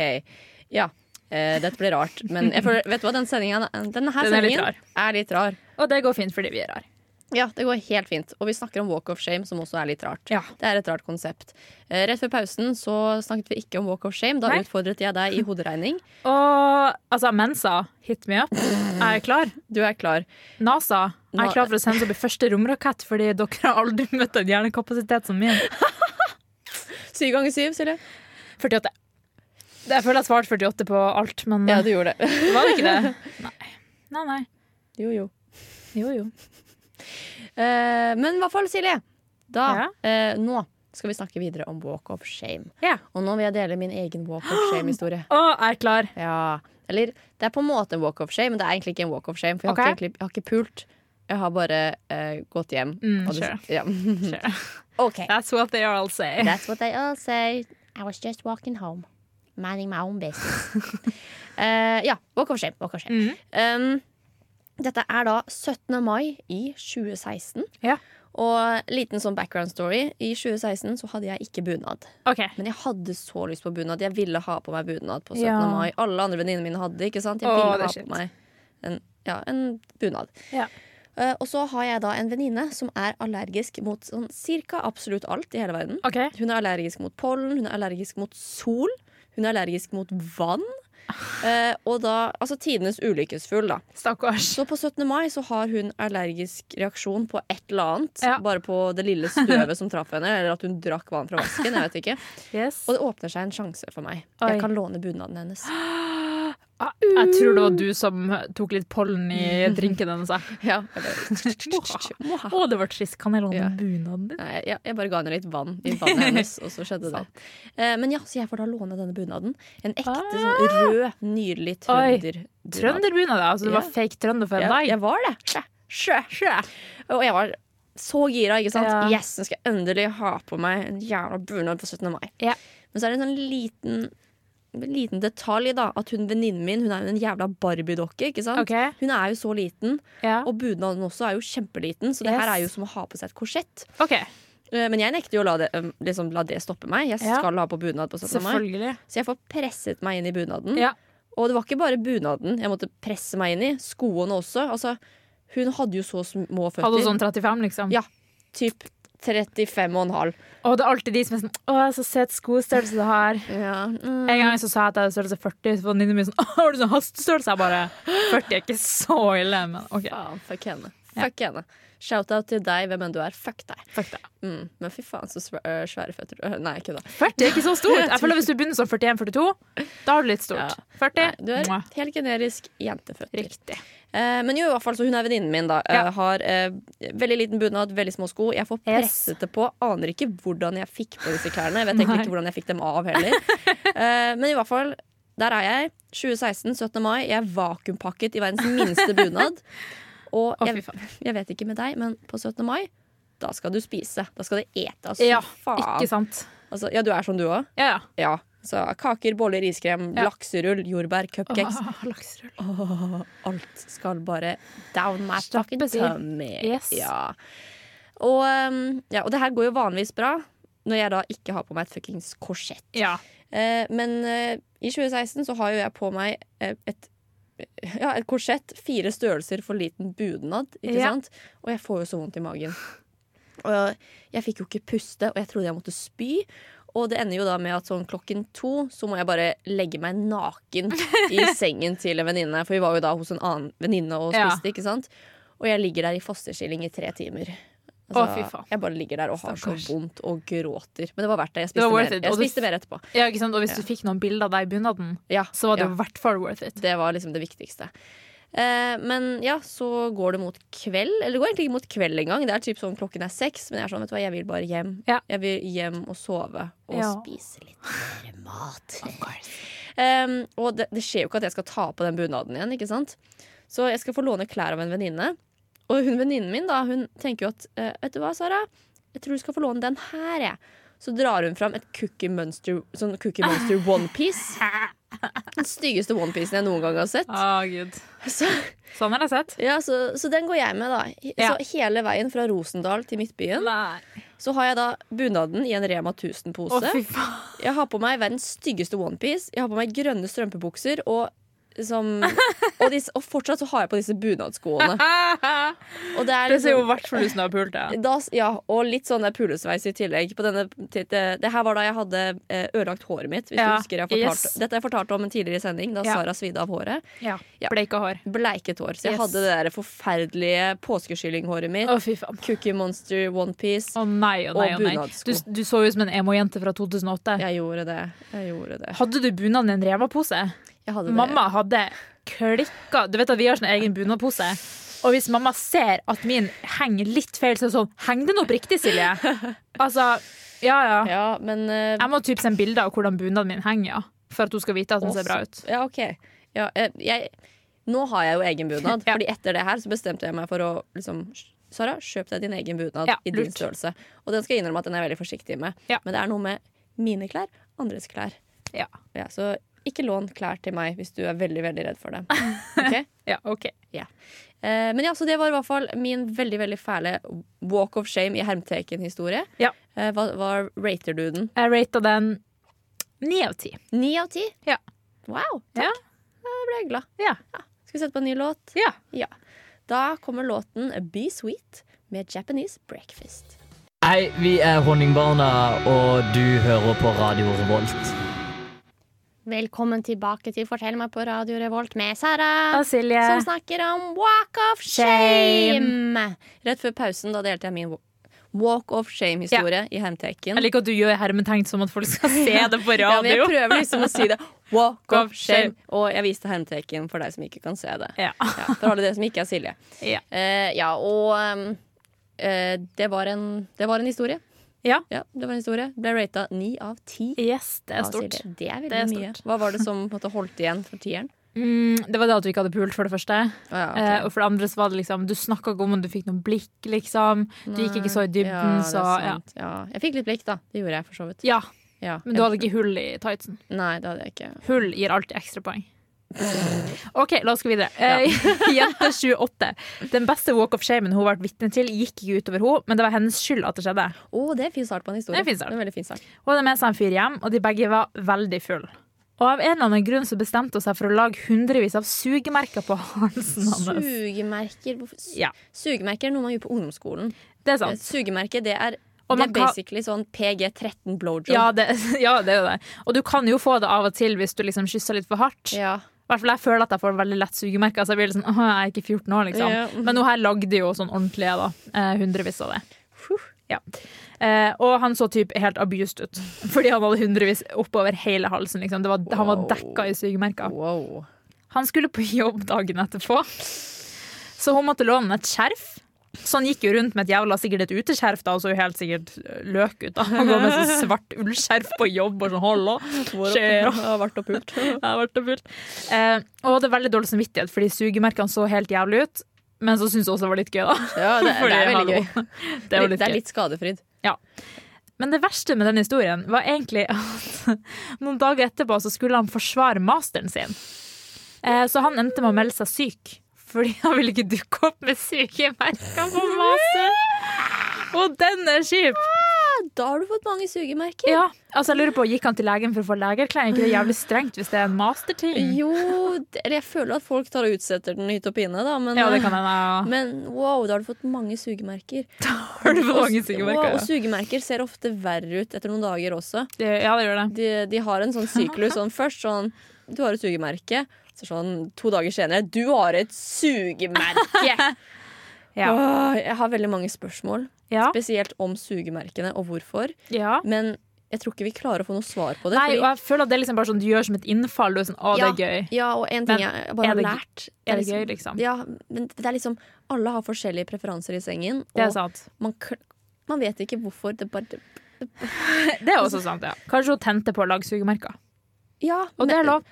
S1: Ja. eh, dette blir rart, men jeg føler, vet du hva, den sendingen, denne her
S2: Den er litt
S1: sendingen er litt rar.
S2: og det går fint fordi vi er her.
S1: Ja, det går helt fint. Og vi snakker om walk of shame, som også er litt rart.
S2: Ja.
S1: Det er et rart konsept. Eh, rett før pausen så snakket vi ikke om walk of shame. Da
S2: Nei.
S1: utfordret jeg deg i hoderegning.
S2: Og altså, Mensa, hit me up. Jeg er klar.
S1: Du er klar.
S2: NASA, jeg
S1: Nå-
S2: er klar for å sende opp i første romrakett fordi dere har aldri møtt en hjernekapasitet som min.
S1: Syv ganger syv, Silje.
S2: 48. Jeg føler jeg svarte 48 på alt, men eh,
S1: Ja, du gjorde det.
S2: var det ikke det? Nei. Nei, nei.
S1: Jo, jo.
S2: Jo, jo.
S1: Eh, men i hvert fall, Silje. Da,
S2: Ja.
S1: eh, nå skal vi snakke videre om walk of shame.
S2: Ja.
S1: Og nå vil jeg dele min egen walk of shame-historie.
S2: Og jeg er klar.
S1: Ja. Eller det er på en måte en walk of shame, men det er egentlig ikke en walk of shame. For jeg,
S2: Ok.
S1: har, ikke, egentlig- jeg har ikke pult. Jeg har bare eh, gått hjem.
S2: Mm,
S1: Og det-
S2: sure.
S1: ja.
S2: Sure.
S1: OK.
S2: That's what they all say.
S1: That's what they all say. I was just walking home. Minding my own business. Eh, ja. Walk of shame. Walk of shame.
S2: Mhm.
S1: Um, dette er da 17. mai i 2016.
S2: Ja.
S1: Og liten sånn background story. I 2016 så hadde jeg ikke bunad.
S2: Ok.
S1: Men jeg hadde så lyst på bunad. Jeg ville ha på meg bunad på 17.
S2: Ja.
S1: mai. Alle andre venninnene mine hadde det. ikke sant? Jeg
S2: Åh,
S1: ville
S2: det er
S1: ha
S2: shit.
S1: på meg en, ja, en bunad.
S2: Ja.
S1: Eh, Og så har jeg da en venninne som er allergisk mot sånn cirka absolutt alt i hele verden.
S2: OK.
S1: Hun er allergisk mot pollen, hun er allergisk mot sol, hun er allergisk mot vann. Eh, og da, altså tidenes ulykkesfugl, da.
S2: Stakkars.
S1: Så på 17. mai så har hun allergisk reaksjon på et eller annet.
S2: Ja.
S1: Bare på det lille støvet som traff henne, eller at hun drakk vann fra vasken. jeg vet ikke.
S2: Yes.
S1: Og det åpner seg en sjanse for meg.
S2: Oi.
S1: Jeg kan låne bunaden hennes.
S2: Jeg tror det var du som tok litt pollen i drinken hennes. jeg.
S1: Ja, jeg bare-
S2: Å, det var trist. Kan jeg låne
S1: Ja.
S2: bunaden din?
S1: Nei, jeg, jeg bare ga henne litt vann i vannet hennes, og så skjedde det. Eh, men ja, så jeg får da låne denne bunaden. En ekte sånn rød, nydelig
S2: Ah. Oi.
S1: trønder.
S2: Trønderbunad, ja. Altså, du
S1: Ja.
S2: var fake trønder for en
S1: Ja,
S2: dag.
S1: jeg var det. Sjæ, sjæ, sjæ. Og jeg var så gira, ikke sant?
S2: Ja.
S1: Yes, nå skal jeg endelig ha på meg en jævla bunad på 17. mai.
S2: Ja.
S1: Men så er det en sånn liten, liten detalj, da. At hun venninnen min hun er jo en jævla Barbie-dokke, ikke sant?
S2: Ok.
S1: Hun er jo så liten,
S2: Ja.
S1: og bunaden også er jo kjempeliten, så det
S2: Yes.
S1: her er jo som å ha på seg et korsett.
S2: OK,
S1: Eh, Men jeg nekter jo å la det, eh, liksom, la det stoppe meg. Jeg
S2: Ja.
S1: skal ha på bunad på 17. mai.
S2: selvfølgelig.
S1: Så jeg får presset meg inn i bunaden.
S2: Ja.
S1: Og det var ikke bare bunaden jeg måtte presse meg inn i. Skoene også. Altså, hun hadde jo så små føtter.
S2: Hadde hun sånn 35, liksom?
S1: Ja. Typ 35 og en halv.
S2: Og det er alltid de som er sånn Å, så søt skostørrelse du har.
S1: Ja. Mm.
S2: En gang så sa jeg at jeg hadde størrelse 40, så var venninnen min sånn Å, har du sånn hastestørrelse? Jeg bare 40 er ikke så ille, men OK.
S1: Faen, fuck henne. Fuck henne. Shout-out til deg, hvem enn du er. Fuck deg.
S2: Fuck det.
S1: Mm. Men fy faen, så svæ- øh, svære føtter. Øh, Nei, kødda.
S2: 40 er ikke så stort. Jeg føler Hvis du begynner som 41-42, da er det litt
S1: Ja.
S2: stort.
S1: Nei,
S2: 40
S1: Du er
S2: mwah.
S1: helt generisk jenteføtter.
S2: Riktig.
S1: Eh, men jo, i hvert fall, så hun er venninnen min, da. Eh,
S2: Ja.
S1: har eh, veldig liten bunad, veldig små sko. Jeg får
S2: Yes.
S1: presset det på. Aner ikke hvordan jeg fikk på disse klærne. Jeg vet egentlig ikke hvordan jeg fikk dem av heller. Eh, men i hvert fall, der er jeg. 2016, 17. mai. Jeg er vakuumpakket i verdens minste bunad. Og
S2: Å, fy
S1: jeg,
S2: faen.
S1: jeg vet ikke med deg, men på 17. mai, da skal du spise. Da skal det etes.
S2: Ja,
S1: faen.
S2: ikke sant?
S1: Altså, ja, du er som du òg?
S2: Ja, ja.
S1: Ja. Så kaker, boller, iskrem,
S2: Ja.
S1: lakserull, jordbær, cupcakes.
S2: Åh, lakserull.
S1: Åh, alt skal bare down my fucking
S2: Stappes i.
S1: tummy.
S2: Yes.
S1: Ja. Og, um, ja, og det her går jo vanligvis bra når jeg da ikke har på meg et fuckings korsett.
S2: Ja.
S1: Eh, men eh, i 2016 så har jo jeg på meg eh, et ja, et korsett, fire størrelser for liten bunad, ikke
S2: Ja.
S1: sant? Og jeg får jo så vondt i magen. Og jeg, jeg fikk jo ikke puste, og jeg trodde jeg måtte spy. Og det ender jo da med at sånn klokken to så må jeg bare legge meg naken i sengen til en venninne. For vi var jo da hos en annen venninne og
S2: Ja.
S1: spiste, ikke sant? Og jeg ligger der i fosterstilling i tre timer. Altså,
S2: Å, fy faen.
S1: Jeg bare ligger der og har
S2: Stakkars.
S1: så vondt og gråter. Men det var verdt det. Jeg
S2: Det var
S1: spiste, mer.
S2: worth it, og
S1: Jeg
S2: du-
S1: spiste mer etterpå.
S2: ja, ikke sant? Og hvis du fikk noen bilder av deg i bunaden,
S1: Ja,
S2: så var det
S1: ja.
S2: i hvert fall worth it.
S1: Det var liksom det viktigste. Eh, men ja, så går det mot kveld. Eller det går egentlig ikke mot kveld engang. Det er typ sånn klokken er seks, men jeg er sånn, vet du hva, jeg vil bare hjem.
S2: Ja.
S1: Jeg vil hjem og sove og
S2: Ja.
S1: spise litt mer mat. Em, og det, det skjer jo ikke at jeg skal ta på den bunaden igjen, ikke sant? Så jeg skal få låne klær av en venninne. Og hun venninnen min da, hun tenker jo at eh, Vet du hva, Sara? Jeg tror du skal få låne den her, jeg. Så drar hun fram et Cookie Monster, sånn Cookie Monster onepiece. Den styggeste onepiecen jeg noen gang har sett.
S2: Å, gud.
S1: Så,
S2: Sånn har jeg sett.
S1: ja, så, så den går jeg med, da. He-
S2: Ja.
S1: Så hele veien fra Rosendal til Midtbyen.
S2: Nei.
S1: Så har jeg da bunaden i en Rema
S2: Å,
S1: 1000-pose.
S2: fy faen.
S1: Jeg har på meg verdens styggeste onepiece. Jeg har på meg grønne strømpebukser. Og, som, og, disse, og fortsatt så har jeg på disse bunadskoene. Og det er
S2: Det ser jo i
S1: liksom-
S2: hvert fall ut som du har pult deg.
S1: da, ja, og litt sånn der pulesveis i tillegg. På denne, til- det, det her var da jeg hadde eh, ødelagt håret mitt. Hvis
S2: Ja,
S1: du husker jeg fortalte,
S2: yes.
S1: Dette har jeg fortalt om en tidligere sending, da
S2: Ja.
S1: Sara svidde av håret.
S2: Ja.
S1: Ja.
S2: Bleika hår.
S1: Bleiket hår. Så jeg
S2: Yes.
S1: hadde det der forferdelige påskeskyllinghåret mitt.
S2: Å, fy faen.
S1: Cookie Monster onepiece.
S2: Å nei, å nei,
S1: Og
S2: å nei. Du,
S1: bunadsko.
S2: du så jo ut som en emo-jente fra 2008.
S1: Jeg gjorde det. Jeg gjorde det.
S2: Hadde du bunaden i en Rema-pose?
S1: Jeg hadde det.
S2: Mamma hadde klikka Du vet at vi har sånn egen bunadpose. Og hvis mamma ser at min henger litt feil, så er det sånn Henger den opp riktig, Silje? Altså, ja ja.
S1: Ja, men eh,
S2: Jeg må typ sende bilder av hvordan bunaden min henger, ja. For at hun skal vite at den ser bra ut.
S1: Ja, ok. Ja, eh, jeg, nå har jeg jo egen bunad,
S2: Ja.
S1: Fordi etter det her så bestemte jeg meg for å liksom Sara, kjøp deg din egen bunad
S2: Ja,
S1: i din
S2: lurt.
S1: størrelse. Og den skal jeg innrømme at den er jeg veldig forsiktig med.
S2: Ja.
S1: Men det er noe med mine klær, andres klær.
S2: Ja.
S1: Ja, så ikke lån klær til meg hvis du er veldig, veldig redd for det. Ok?
S2: Ja, ok.
S1: Eh, men ja, så det var i hvert fall min veldig, veldig fæle walk of shame i hermteken-historie.
S2: Ja.
S1: Eh, hva, hva rater du den?
S2: Jeg rata den ni av ti.
S1: Ni av ti?
S2: Ja.
S1: Wow,
S2: Ja.
S1: takk. Da ble jeg glad.
S2: Ja.
S1: Skal vi sette på en ny låt?
S2: ja.
S1: Da kommer låten Be Sweet med Japanese Breakfast.
S10: Hei, vi er Honningbarna, og du hører på Radio Revolt.
S5: Velkommen tilbake til Fortell meg på Radio Revolt med Sara.
S2: Og Silje.
S5: Som snakker om walk of
S2: Shame.
S5: shame.
S1: Rett før pausen da delte jeg min wa- walk of shame-historie i hermtegn.
S2: Jeg liker at du gjør hermetegn som at folk skal se det på
S1: Ja, men jeg
S2: radio.
S1: prøver liksom å si det. Walk
S2: Walk
S1: of
S2: of
S1: shame. Og jeg viste hermtegn for deg som ikke kan se det.
S2: Ja.
S1: Ja, for alle dere som ikke er Silje.
S2: Ja.
S1: Eh, ja, og um, eh, det, var en, det var en historie.
S2: Ja.
S1: det var en historie. Ble rata ni av ti.
S2: Yes, det er
S1: av
S2: stort.
S1: Silje. Det er veldig
S2: Det er
S1: mye. Hva var det som på en måte, holdt igjen for tieren?
S2: Mm, det var det at du ikke hadde pult, for det første.
S1: Å ja, ok.
S2: Eh, og for det andre så var det liksom Du snakka ikke om om du fikk noen blikk, liksom. Du gikk ikke så i dybden,
S1: Ja, det er
S2: så ja.
S1: sant. ja. Jeg fikk litt blikk, da. Det gjorde jeg for så vidt.
S2: ja.
S1: Ja.
S2: Men du hadde ikke hull i tightsen.
S1: Nei, det hadde jeg ikke.
S2: Hull gir alltid ekstrapoeng. OK, la oss gå videre. Eh, jente 28. Den beste walk of shamen hun ble vitne til, gikk ikke utover henne, men det var hennes skyld at det skjedde.
S1: Å, det er en fin start på en historie.
S2: Det er en fin start.
S1: en veldig fin start.
S2: Hun hadde med seg en fyr hjem, og de begge var veldig fulle. Og av en eller annen grunn så bestemte hun seg for å lage hundrevis av sugemerker på halsen hans.
S1: Sugemerker hvorfor- su-
S2: Ja.
S1: Sugemerker er noe man gjør på ungdomsskolen.
S2: Det er
S1: Eh,
S2: sant.
S1: Sugemerke, det er,
S2: Og
S1: det
S2: man
S1: er
S2: kan-
S1: basically sånn PG13 blowjob.
S2: Ja det, ja, det er jo det. Og du kan jo få det av og til hvis du liksom kysser litt for hardt. I
S1: Ja.
S2: hvert fall jeg føler at jeg får veldig lett sugemerker. Så jeg blir litt sånn, åh, jeg er ikke 14 år, liksom.
S1: Ja.
S2: Men hun her lagde jo sånn ordentlige, da. Eh, hundrevis av det.
S1: Huh.
S2: Ja. Eh, og han så typ helt abused ut, fordi han hadde hundrevis oppover hele halsen. Liksom. Det var, Han var
S1: Wow.
S2: dekka i sugemerker.
S1: Wow.
S2: Han skulle på jobb dagen etterpå, så hun måtte låne et skjerf. Så han gikk jo rundt med et jævla sikkert et uteskjerf, da, og så jo helt sikkert løk ut. da. Han går med sånn svart ullskjerf på jobb og sånn hallo. Skjer og
S1: har vært og pult.
S2: Jeg har vært og pult. Eh, og hadde veldig dårlig samvittighet, fordi sugemerkene så helt jævlig ut. Men så syntes jeg også det var litt gøy, da.
S1: Ja, det,
S2: Fordi,
S1: det er veldig
S2: hallo,
S1: gøy.
S2: Det er jo litt gøy.
S1: litt skadefryd.
S2: Men det verste med den historien var egentlig at noen dager etterpå så skulle han forsvare masteren sin. Eh, Så han endte med å melde seg syk, fordi han ville ikke dukke opp med syke merker på master. Og den er kjip!
S1: Da har du fått mange sugemerker.
S2: Ja, altså jeg lurer på, Gikk han til legen for å få legeerklæring? Er Ikke det jævlig strengt hvis det er en masterting?
S1: Jo, det, eller jeg føler at folk tar og utsetter den hit og pine, da. Men, eh,
S2: Ja, det kan hende.
S1: men wow, da har du fått mange sugemerker.
S2: Har du fått mange
S1: Og-
S2: syke merker?
S1: wow, og sugemerker ser ofte verre ut etter noen dager også.
S2: Det- Ja, det gjør det.
S1: De, de har en sånn syklus. Sånn, først sånn Du har et sugemerke. Så sånn to dager senere Du har et sugemerke!
S2: Ja.
S1: Åh, jeg har veldig mange spørsmål,
S2: Ja.
S1: spesielt om sugemerkene og hvorfor.
S2: ja.
S1: Men jeg tror ikke vi klarer å få noe svar på det.
S2: Nei,
S1: fordi-
S2: og jeg føler at det er liksom bare sånn du gjør som et innfall. Du er sånn, å, det er gøy.
S1: Ja, og en
S2: Men
S1: ting jeg bare
S2: er
S1: har
S2: det gøy-
S1: lært
S2: Er det gøy, liksom?
S1: Ja, men det er liksom Alle har forskjellige preferanser i sengen,
S2: Det er
S1: og
S2: sant.
S1: man, kl- man vet ikke hvorfor. Det bare
S2: Det er også sant, ja. Kanskje hun tente på å lage sugemerker.
S1: Ja,
S2: Og det er lov.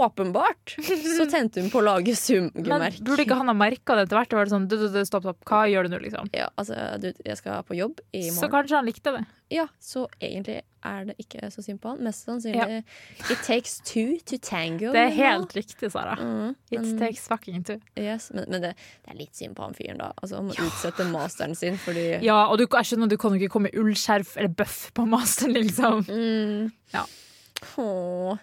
S1: Åpenbart så tente hun på å lage
S2: Men
S1: sugemerk.
S2: burde ikke han ha merka det etter hvert? Det var sånn, du, du, du, stopp, stopp, hva gjør du nå, liksom?
S1: Ja, altså, du, jeg skal på jobb i
S2: Så
S1: morgen.
S2: kanskje han likte det.
S1: Ja, så egentlig er det ikke så synd på han. Mest sannsynlig It takes two to tango.
S2: Det er
S1: you know.
S2: helt riktig, Sara.
S1: Mm,
S2: It
S1: men-
S2: takes fucking two.
S1: yes, Men, men det, det er litt synd på han fyren, da. Altså, han må utsette masteren sin fordi
S2: Ja, og du, jeg skjønner, du kan jo ikke komme i ullskjerf eller bøff på masteren, liksom.
S1: Mm.
S2: Ja.
S1: Åh.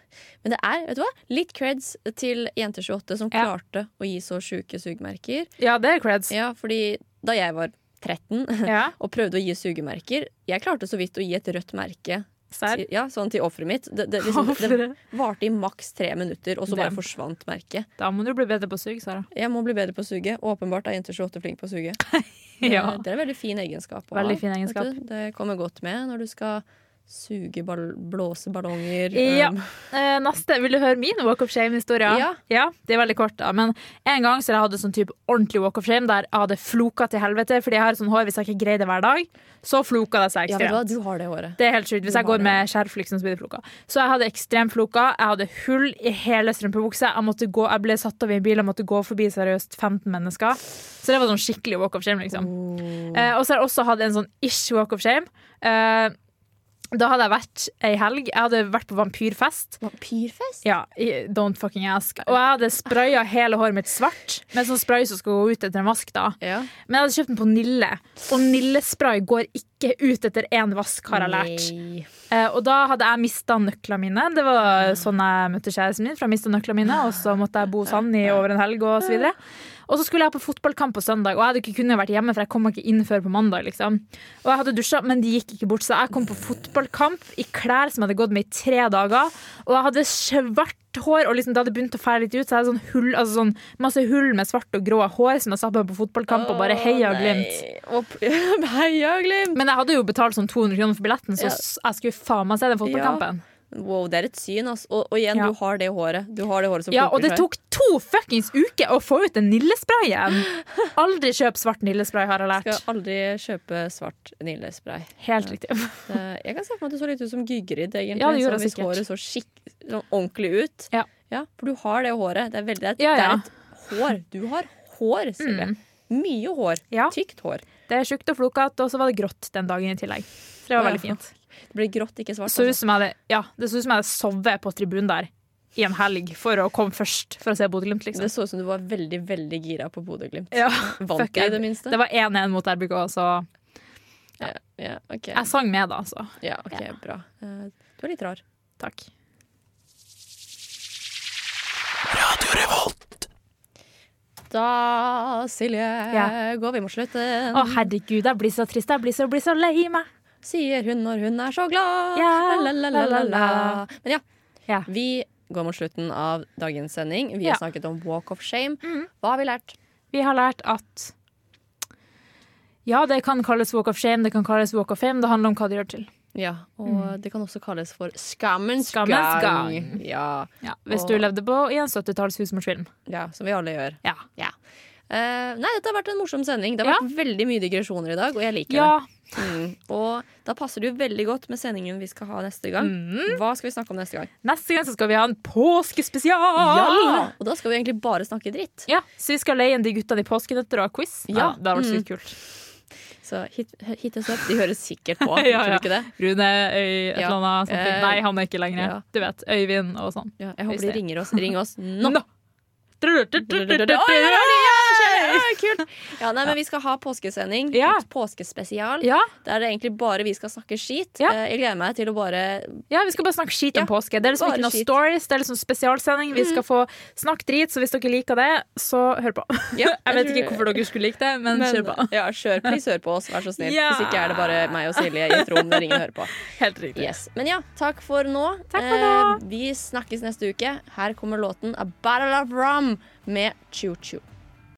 S1: Men det er vet du hva? litt creds til Jenter28 som
S2: Ja.
S1: klarte å gi så sjuke sugemerker.
S2: Ja, det er creds.
S1: Ja, fordi da jeg var 13
S2: Ja,
S1: og prøvde å gi sugemerker Jeg klarte så vidt å gi et rødt merke
S2: serr.
S1: til, ja, sånn til offeret mitt. Det, det, liksom, det
S2: Offeret.
S1: varte i maks tre minutter, og så bare
S2: Damn.
S1: forsvant merket.
S2: Da må du bli bedre på å suge, Sara.
S1: Jeg må bli bedre på å suge. Åpenbart er Jenter28 flink på å suge.
S2: Ja.
S1: Det er en veldig fin egenskap. å
S2: Veldig
S1: ha,
S2: fin
S1: vet
S2: egenskap.
S1: du. Det kommer godt med når du skal suge ball blåse ballonger.
S2: Ja.
S1: um,
S2: Eh, neste, vil du høre min walk of shame-historie?
S1: Ja.
S2: Det er veldig kort, da. Men en gang så jeg hadde sånn type ordentlig walk of shame der jeg hadde floka til helvete. Fordi jeg har sånn hår, hvis jeg ikke greier det hver dag, så floka det seg
S1: Ja, vet
S2: ekstremt.
S1: du hva, du har det håret.
S2: Det er helt sjukt. Hvis
S1: Du
S2: jeg
S1: har
S2: går med skjerf, liksom, så blir det floka. Så jeg hadde ekstremt floka. Jeg hadde hull i hele strømpebuksa. Jeg, måtte gå, jeg ble satt av i en bil og måtte gå forbi seriøst 15 mennesker. Så det var sånn skikkelig walk of shame, liksom.
S1: Oh.
S2: Eh, og så har jeg også hatt en sånn ish walk of shame. Eh, da hadde jeg vært ei helg. Jeg hadde vært på vampyrfest.
S1: Vampyrfest?
S2: Ja, i Don't fucking ask. Og jeg hadde spraya hele håret mitt svart med sånn spray som skal gå ut etter en vask, da.
S1: Ja.
S2: Men jeg hadde kjøpt den på Nille, og Nille-spray går ikke ut etter én vask, har jeg lært.
S1: Nei.
S2: Eh, og da hadde jeg mista nøklene mine. Det var sånn jeg møtte kjæresten min. For jeg mistet nøklene mine Og så måtte jeg bo hos han i over en helg og så videre. Og så skulle jeg på fotballkamp på søndag, og jeg hadde ikke kunnet vært hjemme, for jeg kom ikke inn før på mandag. liksom. Og jeg hadde dusja, men de gikk ikke bort, så jeg kom på fotballkamp i klær som jeg hadde gått med i tre dager, og jeg hadde svart hår, og liksom, det hadde begynt å fære litt ut, så jeg hadde sånn hull, altså sånn masse hull med svart og grå hår som jeg satt på på fotballkamp og bare heia Glimt.
S1: Opp- Heia Glimt!
S2: Men jeg hadde jo betalt sånn 200 kroner for billetten, så
S1: Ja.
S2: s- jeg skulle faen meg se den fotballkampen.
S1: Wow, det er et syn, altså. Og, og igjen,
S2: Ja.
S1: du har det håret. Du har det håret som
S2: Ja, og
S1: klumper
S2: det
S1: seg.
S2: tok to fuckings uker å få ut den nillesprayen! Aldri kjøp svart nillespray, har jeg lært.
S1: Skal aldri kjøpe svart nillespray.
S2: Helt riktig.
S1: Det- Jeg kan se for meg at du så litt ut som Gygrid, egentlig.
S2: Ja, det gjorde
S1: sånn,
S2: jeg
S1: hvis
S2: sikkert.
S1: håret så skikk, sånn ordentlig ut.
S2: Ja.
S1: For du har det håret. Det er, veldig, det er, et-
S2: Ja, ja.
S1: det er et hår. Du har hår, Silje. Mye hår.
S2: Ja.
S1: Tykt hår.
S2: Det er tjukt og flokete, og så var det grått den dagen i tillegg. Så det var
S1: Ja,
S2: veldig fint.
S1: Det blir grått, ikke svart.
S2: Så ut
S1: altså.
S2: som jeg hadde, ja, det så ut som jeg hadde sovet på tribunen der i en helg for å komme først for å se Bodø-Glimt,
S1: Det
S2: liksom.
S1: så ut som du var veldig veldig gira på Bodø-Glimt.
S2: Ja,
S1: Vant
S2: fuck,
S1: de i
S2: jeg-
S1: det minste?
S2: Det var 1-1 mot RBK, så
S1: ja, ok,
S2: jeg sang med, da. Så
S1: ja, ok, bra. Eh, Du er litt rar.
S2: takk.
S1: Da, Silje,
S2: Ja.
S1: går vi mot slutten.
S2: Å, herregud, jeg blir så trist. Jeg blir så, blir så lei meg.
S1: Sier hun når hun er så glad.
S2: Ja,
S1: La, la, la, la, la. Men ja,
S2: Ja.
S1: vi går mot slutten av dagens sending. Vi
S2: Ja.
S1: har snakket om walk of shame. Hva har vi lært?
S2: Vi har lært at ja, det kan kalles walk of shame, det kan kalles walk of fame. Det handler om hva du gjør til.
S1: Ja, og det kan også kalles for Mhm. skammens,
S2: Skammens
S1: gang.
S2: gang.
S1: Ja,
S2: Ja, hvis
S1: Og-
S2: du levde på i en 70-talls husmorsfilm.
S1: ja, som vi alle gjør.
S2: Ja.
S1: Eh, nei, dette har vært en morsom sending. Det har vært veldig mye digresjoner i dag, og jeg liker
S2: ja.
S1: det. Mm. Og da passer det jo veldig godt med sendingen vi skal ha neste gang. Hva skal vi snakke om neste gang?
S2: Neste gang så skal vi ha en påskespesial!
S1: Og da skal vi egentlig bare snakke dritt.
S2: Ja, så vi skal leie inn de guttene i påskenøtter og ha quiz.
S1: Ja.
S2: det har vært sykt kult.
S1: Så hit, hit us up. De hører sikkert på,
S2: Ja, ja.
S1: tror du ikke det?
S2: Rune, Øy, et
S1: Ja.
S2: eller annet. sånt.
S1: Eh,
S2: Nei, han er ikke lenger.
S1: ja.
S2: Du vet. Øyvind og sånn.
S1: Ja, jeg håper
S2: Hvis
S1: de
S2: det-
S1: ringer oss. Ring oss nå!
S2: Nå.
S1: Oi, ja, ja, ja, Kult! Ja, nei, men vi skal ha påskesending.
S2: Ja.
S1: Påskespesial.
S2: Ja,
S1: Der det egentlig bare vi skal snakke skit.
S2: Ja.
S1: Eh, Jeg gleder meg til å bare
S2: ja, vi skal bare snakke skit om
S1: Ja,
S2: påske. Det er liksom
S1: bare
S2: ikke noen
S1: skit. Mm.
S2: stories, det er liksom spesialsending. Vi skal få snakk drit, så hvis dere liker det, så hør på.
S1: Ja,
S2: Jeg vet
S1: tror-
S2: ikke hvorfor dere skulle like det, men,
S1: Men-
S2: kjør på.
S1: Ja, kjør, please hør på oss, vær så snill.
S2: Ja.
S1: Hvis ikke er det bare meg og Silje i et rom der ingen hører på.
S2: Helt riktig.
S1: Yes. Men ja, takk for nå.
S2: Takk for nå.
S1: Eh, vi snakkes neste uke. Her kommer låten A Battle of Rum med Choo Choo.